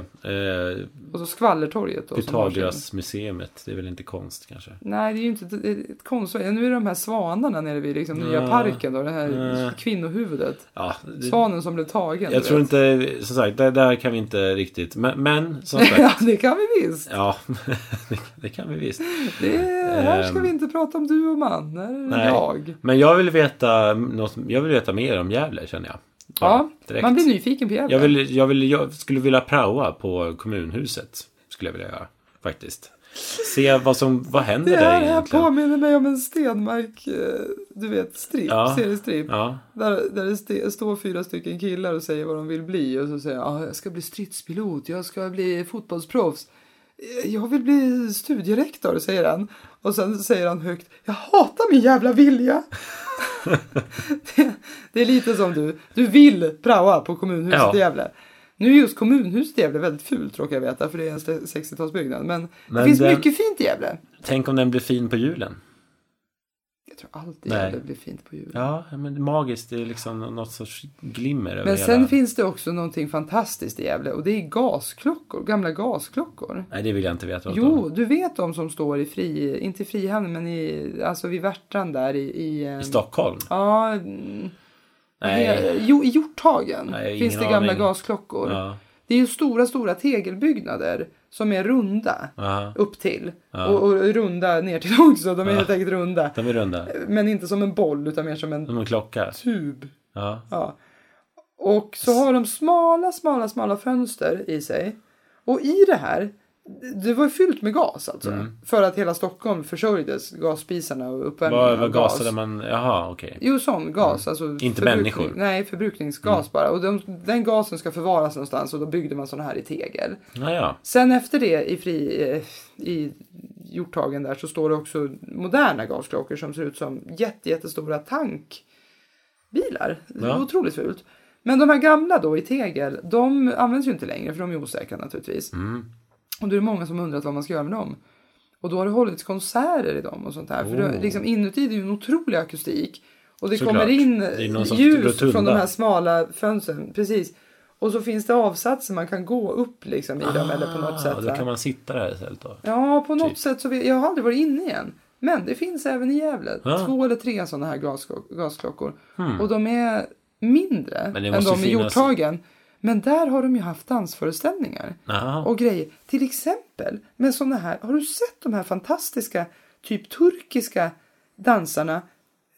[SPEAKER 2] Eh,
[SPEAKER 3] Och så Skvallertorget då. som har sin-
[SPEAKER 2] Pythagoras museet, det är väl inte konst kanske?
[SPEAKER 3] Nej, det är ju inte ett- ett ett konstverk. Nu är det de här svanarna nere vid liksom, nya
[SPEAKER 2] Nej.
[SPEAKER 3] parken då, det här
[SPEAKER 2] Nej.
[SPEAKER 3] kvinnohuvudet.
[SPEAKER 2] Ja, det,
[SPEAKER 3] Svanen som blev tagen.
[SPEAKER 2] jag
[SPEAKER 3] du
[SPEAKER 2] tror
[SPEAKER 3] vet.
[SPEAKER 2] inte, som sagt, där, där kan vi inte riktigt. Men, men som sagt.
[SPEAKER 3] ja, det kan vi visst.
[SPEAKER 2] Ja, det, det kan vi visst.
[SPEAKER 3] Det, här ska
[SPEAKER 2] Ehm.
[SPEAKER 3] vi inte prata om du och man. Här är det
[SPEAKER 2] Nej.
[SPEAKER 3] jag.
[SPEAKER 2] Men jag vill veta, något, jag vill veta mer om Gävle känner jag.
[SPEAKER 3] Ja,
[SPEAKER 2] direkt.
[SPEAKER 3] man blir nyfiken på Gävle.
[SPEAKER 2] Jag, vill, jag, vill, jag skulle vilja praoa på kommunhuset. Skulle jag vilja göra, faktiskt. Se vad som, vad händer
[SPEAKER 3] det
[SPEAKER 2] där
[SPEAKER 3] här, här
[SPEAKER 2] egentligen.
[SPEAKER 3] påminner mig om en Stenmark, eh, du vet, strip,
[SPEAKER 2] Ja.
[SPEAKER 3] seriestrip.
[SPEAKER 2] Ja,
[SPEAKER 3] Där, där det st- står fyra stycken killar och säger vad de vill bli och så säger jag, ah, jag ska bli stridspilot, jag ska bli fotbollsproffs. "Eh, Jag vill bli studierektor, säger han. Och sen säger han högt, jag hatar min jävla vilja. det, det är lite som du, du vill praoa på kommunhuset
[SPEAKER 2] Ja.
[SPEAKER 3] i Gävle. Nu är just kommunhuset i Gävle väldigt fult råkar jag veta för det är en 60-talsbyggnad. Men,
[SPEAKER 2] Men
[SPEAKER 3] det finns
[SPEAKER 2] den-
[SPEAKER 3] mycket fint i Gävle.
[SPEAKER 2] Tänk om den blir fin på julen.
[SPEAKER 3] Jag tror alltid
[SPEAKER 2] Nej.
[SPEAKER 3] Gävle blir fint på julen.
[SPEAKER 2] Ja, men det är magiskt. Det är liksom något sorts glimmer över
[SPEAKER 3] Men
[SPEAKER 2] hela...
[SPEAKER 3] sen finns det också någonting fantastiskt i Gävle och det är gasklockor, gamla gasklockor.
[SPEAKER 2] Nej, det vill jag inte veta. något om.
[SPEAKER 3] Jo, du vet de som står i fri, inte i Frihamn men i, alltså vid Värtan där i... I, eh,
[SPEAKER 2] I Stockholm?
[SPEAKER 3] Ja, mm,
[SPEAKER 2] Nej.
[SPEAKER 3] det- Jo, i Hjorthagen
[SPEAKER 2] Nej,
[SPEAKER 3] finns
[SPEAKER 2] ingen
[SPEAKER 3] det gamla
[SPEAKER 2] aning.
[SPEAKER 3] gasklockor.
[SPEAKER 2] Ja.
[SPEAKER 3] Det är ju stora, stora tegelbyggnader som är runda
[SPEAKER 2] Aha.
[SPEAKER 3] upp till och, och runda ner till också. De är helt enkelt runda.
[SPEAKER 2] De är runda.
[SPEAKER 3] Men inte som en boll utan mer som en
[SPEAKER 2] Som en klocka.
[SPEAKER 3] tub.
[SPEAKER 2] Ja.
[SPEAKER 3] Ja. Och så har de smala, smala, smala fönster i sig. Och i det här, det var ju fyllt med gas alltså.
[SPEAKER 2] Mm.
[SPEAKER 3] För att hela Stockholm försörjdes, gasspisarna och uppvärmningen
[SPEAKER 2] Vad,
[SPEAKER 3] av
[SPEAKER 2] vad gasade man? Jaha, okej.
[SPEAKER 3] Jo, sån gas. Alltså förbrukning-
[SPEAKER 2] människor. Mm.
[SPEAKER 3] Nej, förbrukningsgas bara. Och de, den gasen ska förvaras någonstans och då byggde man såna här i tegel.
[SPEAKER 2] Naja.
[SPEAKER 3] Sen efter det i, fri, eh, i Hjorthagen där så står det också moderna gasklockor som ser ut som jätte, jättestora tankbilar. Det är
[SPEAKER 2] Ja.
[SPEAKER 3] Otroligt fult. Men de här gamla då i tegel, de används ju inte längre för de är osäkra naturligtvis.
[SPEAKER 2] Mm.
[SPEAKER 3] Och då är det många som undrat vad man ska göra med dem. Och då har det hållits konserter i dem och sånt där. För det, liksom, inuti det är ju en otrolig akustik. Och det
[SPEAKER 2] Oh. Såklart.
[SPEAKER 3] kommer in
[SPEAKER 2] Det är någon sorts
[SPEAKER 3] ljus
[SPEAKER 2] rotunda.
[SPEAKER 3] från de här smala fönstren. Precis. Och så finns det avsatser man kan gå upp liksom i dem eller på något sätt.
[SPEAKER 2] Ah,
[SPEAKER 3] va?
[SPEAKER 2] då kan man Typ. sitta där istället då.
[SPEAKER 3] Ja, på något sätt så vet, jag har aldrig varit inne igen. Men det finns även i Gävle.
[SPEAKER 2] Ja.
[SPEAKER 3] Två eller tre sådana här gasklo- gasklockor. Och de är mindre
[SPEAKER 2] Hmm. Men det
[SPEAKER 3] än
[SPEAKER 2] måste
[SPEAKER 3] de
[SPEAKER 2] ju
[SPEAKER 3] i
[SPEAKER 2] finnas-
[SPEAKER 3] Hjorthagen. Men där har de ju haft dansföreställningar
[SPEAKER 2] Aha.
[SPEAKER 3] och grejer. Till exempel med sådana här, har du sett de här fantastiska typ turkiska dansarna?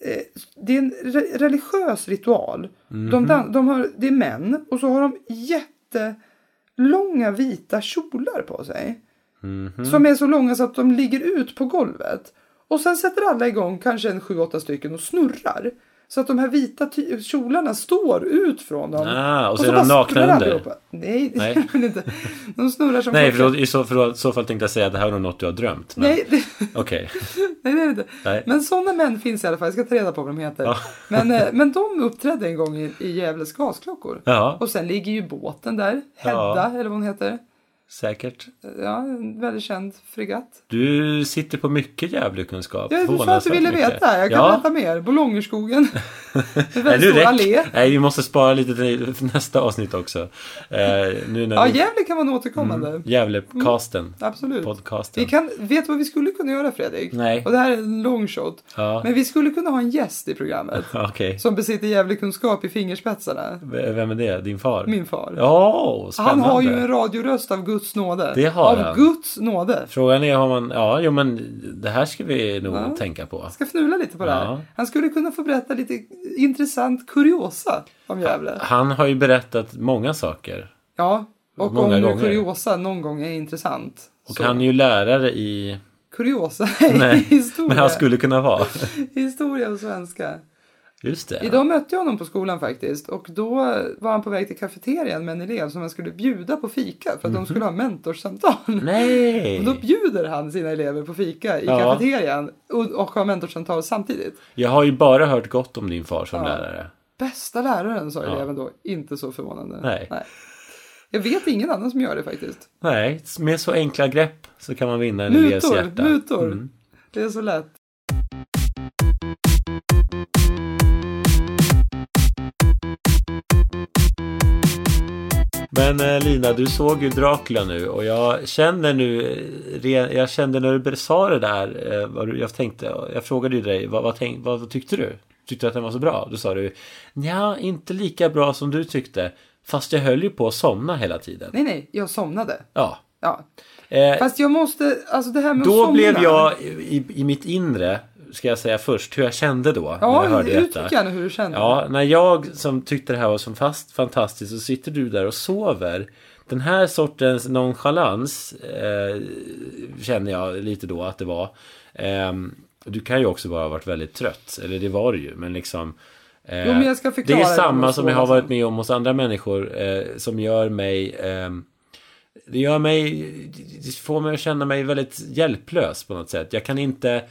[SPEAKER 3] Eh, Det är en re- religiös ritual. De dan- de har, det är män och så har de jättelånga vita kjolar på sig.
[SPEAKER 2] Mm.
[SPEAKER 3] Som är så långa så att de ligger ut på golvet. Och sen sätter alla igång, kanske en sju, åtta stycken och snurrar. Så att de här vita ty- kjolarna står ut från dem.
[SPEAKER 2] Ah, och så är de
[SPEAKER 3] bara
[SPEAKER 2] nakna
[SPEAKER 3] snurrar
[SPEAKER 2] under.
[SPEAKER 3] allihopa. Nej, det
[SPEAKER 2] Nej.
[SPEAKER 3] är de inte. De snurrar som
[SPEAKER 2] Nej,
[SPEAKER 3] klockor.
[SPEAKER 2] för då, i så, för då, så fall tänkte jag säga att det här är nog något du har drömt. Men,
[SPEAKER 3] Nej, det,
[SPEAKER 2] Okej.
[SPEAKER 3] nej, det är det inte.
[SPEAKER 2] Nej.
[SPEAKER 3] Men sådana män finns i alla fall. Jag ska ta reda på vad de heter.
[SPEAKER 2] Ja.
[SPEAKER 3] Men, eh, men de uppträdde en gång i, i Gävles gasklockor.
[SPEAKER 2] Ja,
[SPEAKER 3] Och sen ligger ju båten där. Hedda,
[SPEAKER 2] Ja.
[SPEAKER 3] eller vad hon heter.
[SPEAKER 2] säkert.
[SPEAKER 3] Ja, en väldigt känd fregatt.
[SPEAKER 2] Du sitter på mycket Gävlekunskap.
[SPEAKER 3] Ja, du sa att du
[SPEAKER 2] Förvånansvärt
[SPEAKER 3] ville
[SPEAKER 2] mycket.
[SPEAKER 3] veta. Jag kan
[SPEAKER 2] ja.
[SPEAKER 3] berätta mer. Bolongerskogen. En
[SPEAKER 2] Nej,
[SPEAKER 3] väldigt
[SPEAKER 2] nu
[SPEAKER 3] stor allé.
[SPEAKER 2] räcker. Nej, vi måste spara lite till nästa avsnitt också. Eh, nu när
[SPEAKER 3] Ja,
[SPEAKER 2] vi...
[SPEAKER 3] Gävle kan vara en återkommande.
[SPEAKER 2] Mm. Gävlecasten.
[SPEAKER 3] Absolut.
[SPEAKER 2] Podcasten.
[SPEAKER 3] Vi kan, vet du vad vi skulle kunna göra Fredrik?
[SPEAKER 2] Nej.
[SPEAKER 3] Och det här är en long shot.
[SPEAKER 2] Ja.
[SPEAKER 3] Men vi skulle kunna ha en gäst i programmet.
[SPEAKER 2] Okej.
[SPEAKER 3] som besitter jävlig kunskap i fingerspetsarna.
[SPEAKER 2] V- Vem är det? Din far?
[SPEAKER 3] Min far.
[SPEAKER 2] Ja, spännande.
[SPEAKER 3] han har ju en radioröst av Guds nåde.
[SPEAKER 2] Det har
[SPEAKER 3] av
[SPEAKER 2] han.
[SPEAKER 3] Guds nåde.
[SPEAKER 2] Frågan är om man... Ja, jo men det här ska vi nog tänka på.
[SPEAKER 3] Ska fnula lite på det här.
[SPEAKER 2] Ja.
[SPEAKER 3] Han skulle kunna få berätta lite intressant kuriosa om Gävle.
[SPEAKER 2] Han har ju berättat många saker.
[SPEAKER 3] Ja, och
[SPEAKER 2] Många
[SPEAKER 3] om nu
[SPEAKER 2] gånger.
[SPEAKER 3] kuriosa någon gång är intressant.
[SPEAKER 2] Och
[SPEAKER 3] så-
[SPEAKER 2] han är ju lärare i...
[SPEAKER 3] Kuriosa
[SPEAKER 2] Nej,
[SPEAKER 3] i historia.
[SPEAKER 2] men han skulle kunna vara.
[SPEAKER 3] Historia och svenska.
[SPEAKER 2] Just det.
[SPEAKER 3] Idag mötte jag honom på skolan faktiskt och då var han på väg till kafeterian med en elev som han skulle bjuda på fika
[SPEAKER 2] Mhm.
[SPEAKER 3] för att de skulle ha mentorsamtal.
[SPEAKER 2] Nej!
[SPEAKER 3] Och då bjuder han sina elever på fika i
[SPEAKER 2] Ja.
[SPEAKER 3] kafeterian och, och har mentorsamtal samtidigt.
[SPEAKER 2] Jag har ju bara hört gott om din far som
[SPEAKER 3] Ja.
[SPEAKER 2] lärare.
[SPEAKER 3] Bästa läraren sa eleven då, inte så förvånande.
[SPEAKER 2] Nej.
[SPEAKER 3] Jag vet ingen annan som gör det faktiskt.
[SPEAKER 2] Nej, med så enkla grepp så kan man vinna en elevs hjärta.
[SPEAKER 3] Mutor, mutor.
[SPEAKER 2] Mm.
[SPEAKER 3] Det är så lätt.
[SPEAKER 2] Men eh, Lina, du såg ju Dracula nu och jag känner nu, eh, re- jag kände när du sa det där, eh, vad du, jag tänkte, jag frågade ju dig, vad, vad, tänk, vad, vad tyckte du? Tyckte du att den var så bra? Då sa du, ja, inte lika bra som du tyckte, fast jag höll ju på att somna hela tiden.
[SPEAKER 3] Nej, nej, jag somnade.
[SPEAKER 2] Ja.
[SPEAKER 3] Ja.
[SPEAKER 2] Eh,
[SPEAKER 3] Fast jag måste, alltså det här med att
[SPEAKER 2] Då
[SPEAKER 3] somna.
[SPEAKER 2] blev jag i, i mitt inre, ska jag säga först, hur jag kände då när jag
[SPEAKER 3] Ja,
[SPEAKER 2] hörde
[SPEAKER 3] uttryck
[SPEAKER 2] detta.
[SPEAKER 3] gärna hur du känner.
[SPEAKER 2] Ja, när jag som tyckte det här var som fast fantastiskt så sitter du där och sover. Den här sortens nonchalans eh, känner jag lite då att det var. Ehm, du kan ju också bara ha varit väldigt trött, eller det var du ju, men liksom eh,
[SPEAKER 3] Jo, men jag ska förklara
[SPEAKER 2] Det är
[SPEAKER 3] det
[SPEAKER 2] samma
[SPEAKER 3] med
[SPEAKER 2] som jag har
[SPEAKER 3] sova
[SPEAKER 2] varit
[SPEAKER 3] sen.
[SPEAKER 2] med om hos andra människor eh, som gör mig ehm, det gör mig, det får mig att känna mig väldigt hjälplös på något sätt. Jag kan inte,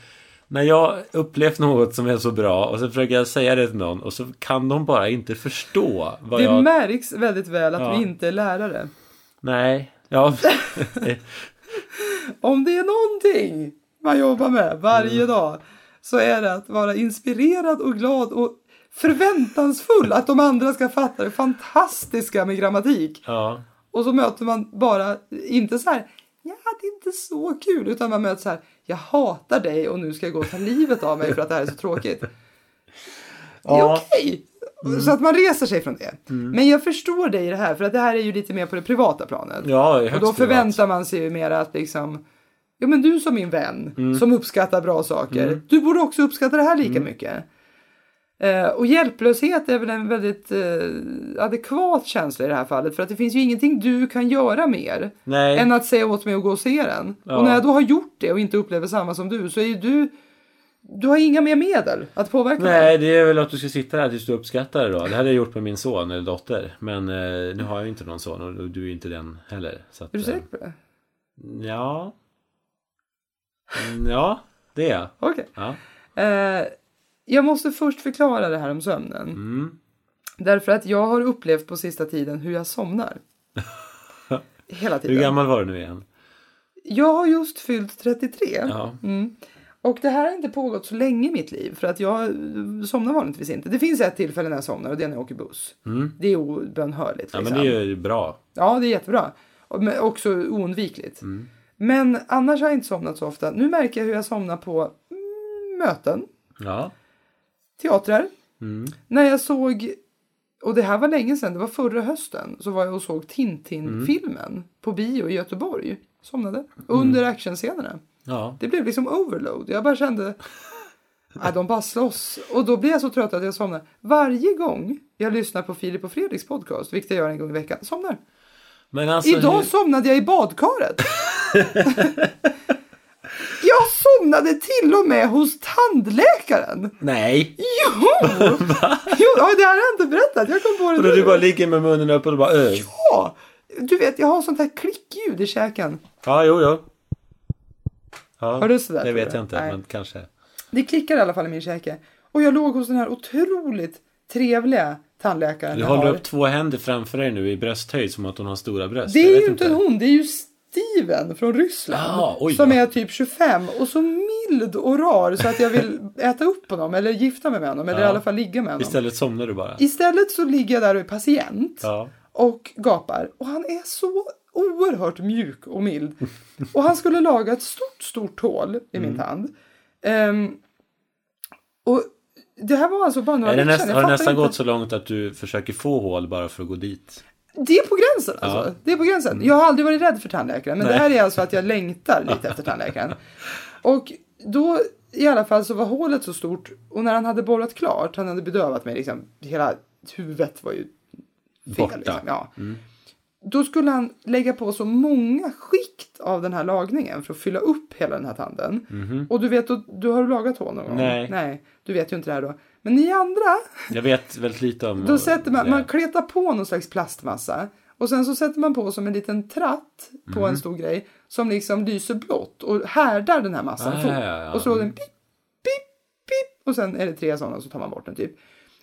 [SPEAKER 2] När jag upplevt något som är så bra och så försöker jag säga det till någon och så kan de bara inte förstå vad
[SPEAKER 3] Det
[SPEAKER 2] jag...
[SPEAKER 3] märks väldigt väl att
[SPEAKER 2] Ja.
[SPEAKER 3] vi inte är lärare.
[SPEAKER 2] Nej. Ja.
[SPEAKER 3] Om det är någonting man jobbar med varje dag så är det att vara inspirerad och glad och förväntansfull att de andra ska fatta det fantastiska med grammatik.
[SPEAKER 2] ja.
[SPEAKER 3] Och så möter man bara, inte så här, ja det är inte så kul, utan man möter så här, jag hatar dig och nu ska jag gå och ta livet av mig för att det här är så tråkigt. Det är
[SPEAKER 2] Ja.
[SPEAKER 3] okej. Så att man reser sig från det. Men jag förstår dig i det här, för att det här är ju lite mer på det privata planet.
[SPEAKER 2] Ja, högst
[SPEAKER 3] Och då
[SPEAKER 2] privat.
[SPEAKER 3] förväntar man sig ju mer att liksom, ja men du som min vän,
[SPEAKER 2] Mm.
[SPEAKER 3] som uppskattar bra saker, du borde också uppskatta det här lika mycket. Eh, och hjälplöshet är väl en väldigt eh, adekvat känsla i det här fallet, för att det finns ju ingenting du kan göra mer
[SPEAKER 2] Nej.
[SPEAKER 3] än att säga åt mig att gå och se den.
[SPEAKER 2] Ja.
[SPEAKER 3] Och när jag då har gjort det och inte upplever samma som du, så är ju du, du har inga mer medel att påverka mig.
[SPEAKER 2] Nej, det är väl att du ska sitta där tills du uppskattar det då. Det hade jag gjort med min son eller dotter. Men eh, nu har jag ju inte någon son och du är ju inte den heller. Så att,
[SPEAKER 3] Är du
[SPEAKER 2] eh,
[SPEAKER 3] säker på det?
[SPEAKER 2] Ja. Mm, Ja, det är jag.
[SPEAKER 3] Okej.
[SPEAKER 2] Ja.
[SPEAKER 3] Eh, jag måste först förklara det här om sömnen.
[SPEAKER 2] Mm.
[SPEAKER 3] Därför att jag har upplevt på sista tiden hur jag somnar. Hela
[SPEAKER 2] Hur
[SPEAKER 3] tiden.
[SPEAKER 2] gammal var du nu igen?
[SPEAKER 3] Jag har just fyllt 33.
[SPEAKER 2] Ja.
[SPEAKER 3] Och det här har inte pågått så länge i mitt liv. För att jag eh, somnar vanligtvis inte. Det finns ett tillfälle när jag somnar och det är när jag åker buss. Det är obönhörligt.
[SPEAKER 2] Mm. Ja, men
[SPEAKER 3] liksom.
[SPEAKER 2] det är ju bra.
[SPEAKER 3] Ja, det är jättebra. Och- Men också oundvikligt.
[SPEAKER 2] Mm.
[SPEAKER 3] Men annars har jag inte somnat så ofta. Nu märker jag hur jag somnar på mm, möten.
[SPEAKER 2] Ja.
[SPEAKER 3] teatrar.
[SPEAKER 2] Mm.
[SPEAKER 3] När jag såg, och det här var länge sedan, det var förra hösten, så var jag och såg Tintin-filmen på bio i Göteborg. Somnade.
[SPEAKER 2] Mm.
[SPEAKER 3] Under actionscenerna.
[SPEAKER 2] Ja.
[SPEAKER 3] Det blev liksom overload. Jag bara kände, att de bara slåss. Och då blev jag så trött att jag somnade. Varje gång jag lyssnar på Filip och Fredriks podcast, vilket jag gör en gång i veckan, somnar.
[SPEAKER 2] Men alltså,
[SPEAKER 3] Idag
[SPEAKER 2] hur-
[SPEAKER 3] somnade jag i badkaret. jag somnade till och med hos tandläkaren.
[SPEAKER 2] Nej!
[SPEAKER 3] Jo! jo ja, det här har jag inte berättat. Jag kom på det
[SPEAKER 2] Och då du bara ligger med munnen öppen och bara öh.
[SPEAKER 3] Ja! Du vet, jag har sånt här klickljud i käken.
[SPEAKER 2] Ja, jo, jo. Ja,
[SPEAKER 3] Har du
[SPEAKER 2] Det
[SPEAKER 3] sådär, tror
[SPEAKER 2] vet
[SPEAKER 3] du?
[SPEAKER 2] jag inte,
[SPEAKER 3] Nej.
[SPEAKER 2] men kanske.
[SPEAKER 3] Det klickar i alla fall i min käke. Och jag låg hos den här otroligt trevliga tandläkaren
[SPEAKER 2] Du
[SPEAKER 3] jag
[SPEAKER 2] håller
[SPEAKER 3] har.
[SPEAKER 2] upp två händer framför dig nu i brösthöjd som att hon har stora bröst.
[SPEAKER 3] Det
[SPEAKER 2] Jag
[SPEAKER 3] är
[SPEAKER 2] vet
[SPEAKER 3] ju inte hon, det är ju Steven från Ryssland.
[SPEAKER 2] Ja, oj,
[SPEAKER 3] som
[SPEAKER 2] ja.
[SPEAKER 3] är typ 25 och så mild och rar så att jag vill äta upp honom eller gifta mig med honom eller
[SPEAKER 2] Ja.
[SPEAKER 3] i alla fall ligga med honom.
[SPEAKER 2] Istället somnar du bara.
[SPEAKER 3] Istället så ligger jag där och är patient.
[SPEAKER 2] Ja.
[SPEAKER 3] och gapar. Och han är så oerhört mjuk och mild. Och han skulle laga ett stort, stort hål i
[SPEAKER 2] Mm.
[SPEAKER 3] min tand. Ehm, och det här var alltså bara några
[SPEAKER 2] Är det
[SPEAKER 3] veckor
[SPEAKER 2] näst,
[SPEAKER 3] sedan.
[SPEAKER 2] har det
[SPEAKER 3] Jag fattar
[SPEAKER 2] nästan
[SPEAKER 3] inte.
[SPEAKER 2] gått så långt att du försöker få hål bara för att gå dit?
[SPEAKER 3] Det är på gränsen alltså.
[SPEAKER 2] Ja. Mm.
[SPEAKER 3] Det är på gränsen. Jag har aldrig varit rädd för tandläkaren. Men
[SPEAKER 2] Nej.
[SPEAKER 3] det här är alltså att jag längtar lite efter tandläkaren. Och då i alla fall så var hålet så stort. Och när han hade borrat klart, han hade bedövat mig liksom. Hela huvudet var ju fel.
[SPEAKER 2] Borta. Mm.
[SPEAKER 3] Liksom. Ja. Då skulle han lägga på så många skikt av den här lagningen för att fylla upp hela den här tanden. Och du vet, då, du har du lagat hål någon gång?
[SPEAKER 2] Mhm. Nej.
[SPEAKER 3] Nej. Du vet ju inte det här då. Men ni andra,
[SPEAKER 2] Jag vet väldigt lite om
[SPEAKER 3] då sätter man,
[SPEAKER 2] det.
[SPEAKER 3] man kletar på någon slags plastmassa. Och sen så sätter man på som en liten tratt på
[SPEAKER 2] Mm.
[SPEAKER 3] en stor grej. Som liksom lyser blått och härdar den här massan.
[SPEAKER 2] Ah,
[SPEAKER 3] fort.
[SPEAKER 2] ja, ja, ja.
[SPEAKER 3] Och så den pip, pip, pip. Och sen är det tre sådana och så tar man bort den typ.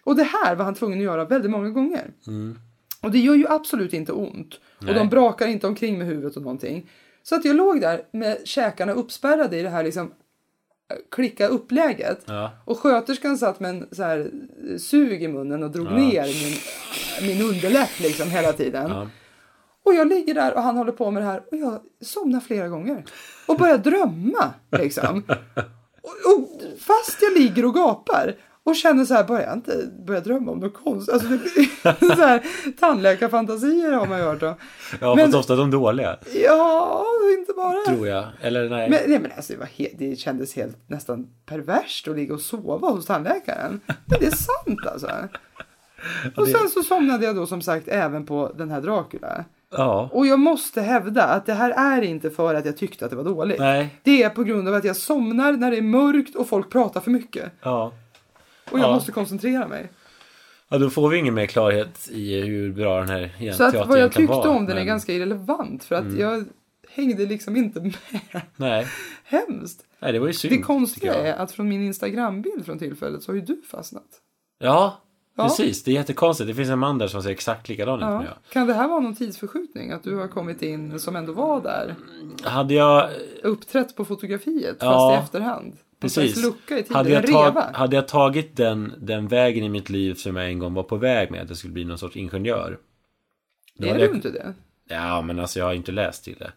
[SPEAKER 3] Och det här var han tvungen att göra väldigt många gånger.
[SPEAKER 2] Mm.
[SPEAKER 3] Och det gör ju absolut inte ont. Och de brakar inte omkring med huvudet och någonting. Så att jag låg där med käkarna uppspärrade i det här liksom eh, klicka uppläget.
[SPEAKER 2] Ja.
[SPEAKER 3] Och sköterskan satt med en så här eh, sug i munnen och drog ner min, min underläpp liksom hela tiden.
[SPEAKER 2] Ja.
[SPEAKER 3] Och jag ligger där och han håller på med det här och jag somnar flera gånger. Och börjar drömma liksom. Och, och, fast jag ligger och gapar. Och känner så här, börjar jag inte börja drömma om något konstigt? Alltså, det blir, så här, tandläkarfantasier har man ju hört om.
[SPEAKER 2] Ja,
[SPEAKER 3] Men-
[SPEAKER 2] fast ofta de dåliga.
[SPEAKER 3] Ja, inte bara.
[SPEAKER 2] Tror jag. Eller nej.
[SPEAKER 3] Men, nej, men alltså, det, var he- det kändes helt nästan perverst att ligga och sova hos tandläkaren. Men det är sant alltså. Och sen så somnade jag då som sagt även på den här Dracula.
[SPEAKER 2] Ja.
[SPEAKER 3] Och jag måste hävda att det här är inte för att jag tyckte att det var dåligt.
[SPEAKER 2] Nej.
[SPEAKER 3] Det är på grund av att jag somnar när det är mörkt och folk pratar för mycket.
[SPEAKER 2] Ja.
[SPEAKER 3] Och jag
[SPEAKER 2] Ja.
[SPEAKER 3] måste koncentrera mig.
[SPEAKER 2] ja, då får vi ingen mer klarhet i hur bra den här igen-
[SPEAKER 3] Så att
[SPEAKER 2] teatern
[SPEAKER 3] vad jag
[SPEAKER 2] egentligen
[SPEAKER 3] tyckte
[SPEAKER 2] var,
[SPEAKER 3] om den är
[SPEAKER 2] men- Mm.
[SPEAKER 3] ganska irrelevant. För att jag hängde liksom inte med.
[SPEAKER 2] Nej.
[SPEAKER 3] Hemskt.
[SPEAKER 2] Nej, det var ju synd.
[SPEAKER 3] Det konstiga
[SPEAKER 2] tycker jag.
[SPEAKER 3] är att från min Instagram-bild från tillfället så har ju du fastnat.
[SPEAKER 2] Ja,
[SPEAKER 3] Ja.
[SPEAKER 2] precis. Det är jättekonstigt. Det finns en man där som ser exakt likadan ut som
[SPEAKER 3] Ja.
[SPEAKER 2] jag.
[SPEAKER 3] Kan det här vara någon tidsförskjutning? Att du har kommit in som ändå var där?
[SPEAKER 2] Hade jag...
[SPEAKER 3] Uppträtt på fotografiet
[SPEAKER 2] Ja.
[SPEAKER 3] fast i efterhand? Någon
[SPEAKER 2] Precis.
[SPEAKER 3] slags lucka i tiden,
[SPEAKER 2] Hade jag,
[SPEAKER 3] en
[SPEAKER 2] tag,
[SPEAKER 3] reva?
[SPEAKER 2] hade jag tagit den, den vägen i mitt liv som jag en gång var på väg med, att jag skulle bli någon sorts ingenjör. då
[SPEAKER 3] Är
[SPEAKER 2] hade
[SPEAKER 3] du
[SPEAKER 2] jag-
[SPEAKER 3] inte det?
[SPEAKER 2] Ja, men alltså jag har inte läst till det.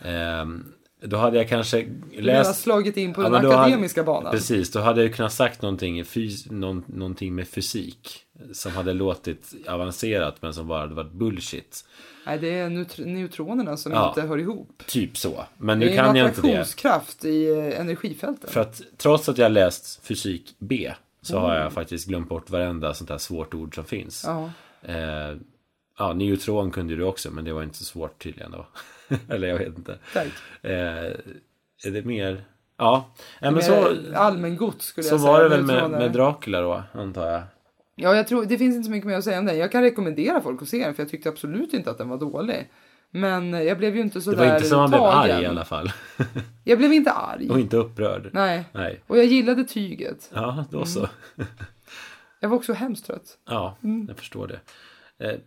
[SPEAKER 2] Ehm, då hade jag kanske
[SPEAKER 3] Du menar
[SPEAKER 2] läst...
[SPEAKER 3] slagit in på
[SPEAKER 2] Ja,
[SPEAKER 3] den
[SPEAKER 2] men då hade-
[SPEAKER 3] akademiska banan?
[SPEAKER 2] Precis, då hade jag ju kunnat sagt någonting, i fys- någon, någonting med fysik. Som hade låtit avancerat men som bara hade varit bullshit.
[SPEAKER 3] Nej, det är neut- neutronerna som
[SPEAKER 2] Ja.
[SPEAKER 3] inte hör ihop.
[SPEAKER 2] Typ så. Men
[SPEAKER 3] Det
[SPEAKER 2] nu
[SPEAKER 3] är en
[SPEAKER 2] kan jag inte det.
[SPEAKER 3] attraktionskraft i eh, energifälten.
[SPEAKER 2] För att trots att jag läst fysik B så har jag faktiskt glömt bort varenda sånt här svårt ord som finns.
[SPEAKER 3] Ja.
[SPEAKER 2] Eh, ja, neutron kunde du också men det var inte så svårt tydligen då. Eller jag vet inte.
[SPEAKER 3] Tack.
[SPEAKER 2] Eh, är det mer? Ja, Nej, men så,
[SPEAKER 3] Mer allmängods skulle
[SPEAKER 2] så
[SPEAKER 3] jag säga.
[SPEAKER 2] var det väl med,
[SPEAKER 3] Neutroner.
[SPEAKER 2] med Dracula då, antar jag.
[SPEAKER 3] Ja, jag tror, det finns inte så mycket mer att säga om den. Jag kan rekommendera folk att se den, för jag tyckte absolut inte att den var dålig. Men jag blev ju inte så
[SPEAKER 2] Det var
[SPEAKER 3] där
[SPEAKER 2] inte så man blev
[SPEAKER 3] tagen.
[SPEAKER 2] arg i alla fall.
[SPEAKER 3] Jag blev inte arg.
[SPEAKER 2] Och inte upprörd.
[SPEAKER 3] Nej. Mm.
[SPEAKER 2] Nej.
[SPEAKER 3] Och jag gillade tyget.
[SPEAKER 2] Ja, då så.
[SPEAKER 3] Jag var också hemskt trött. Mm.
[SPEAKER 2] Ja, jag förstår det. Eh,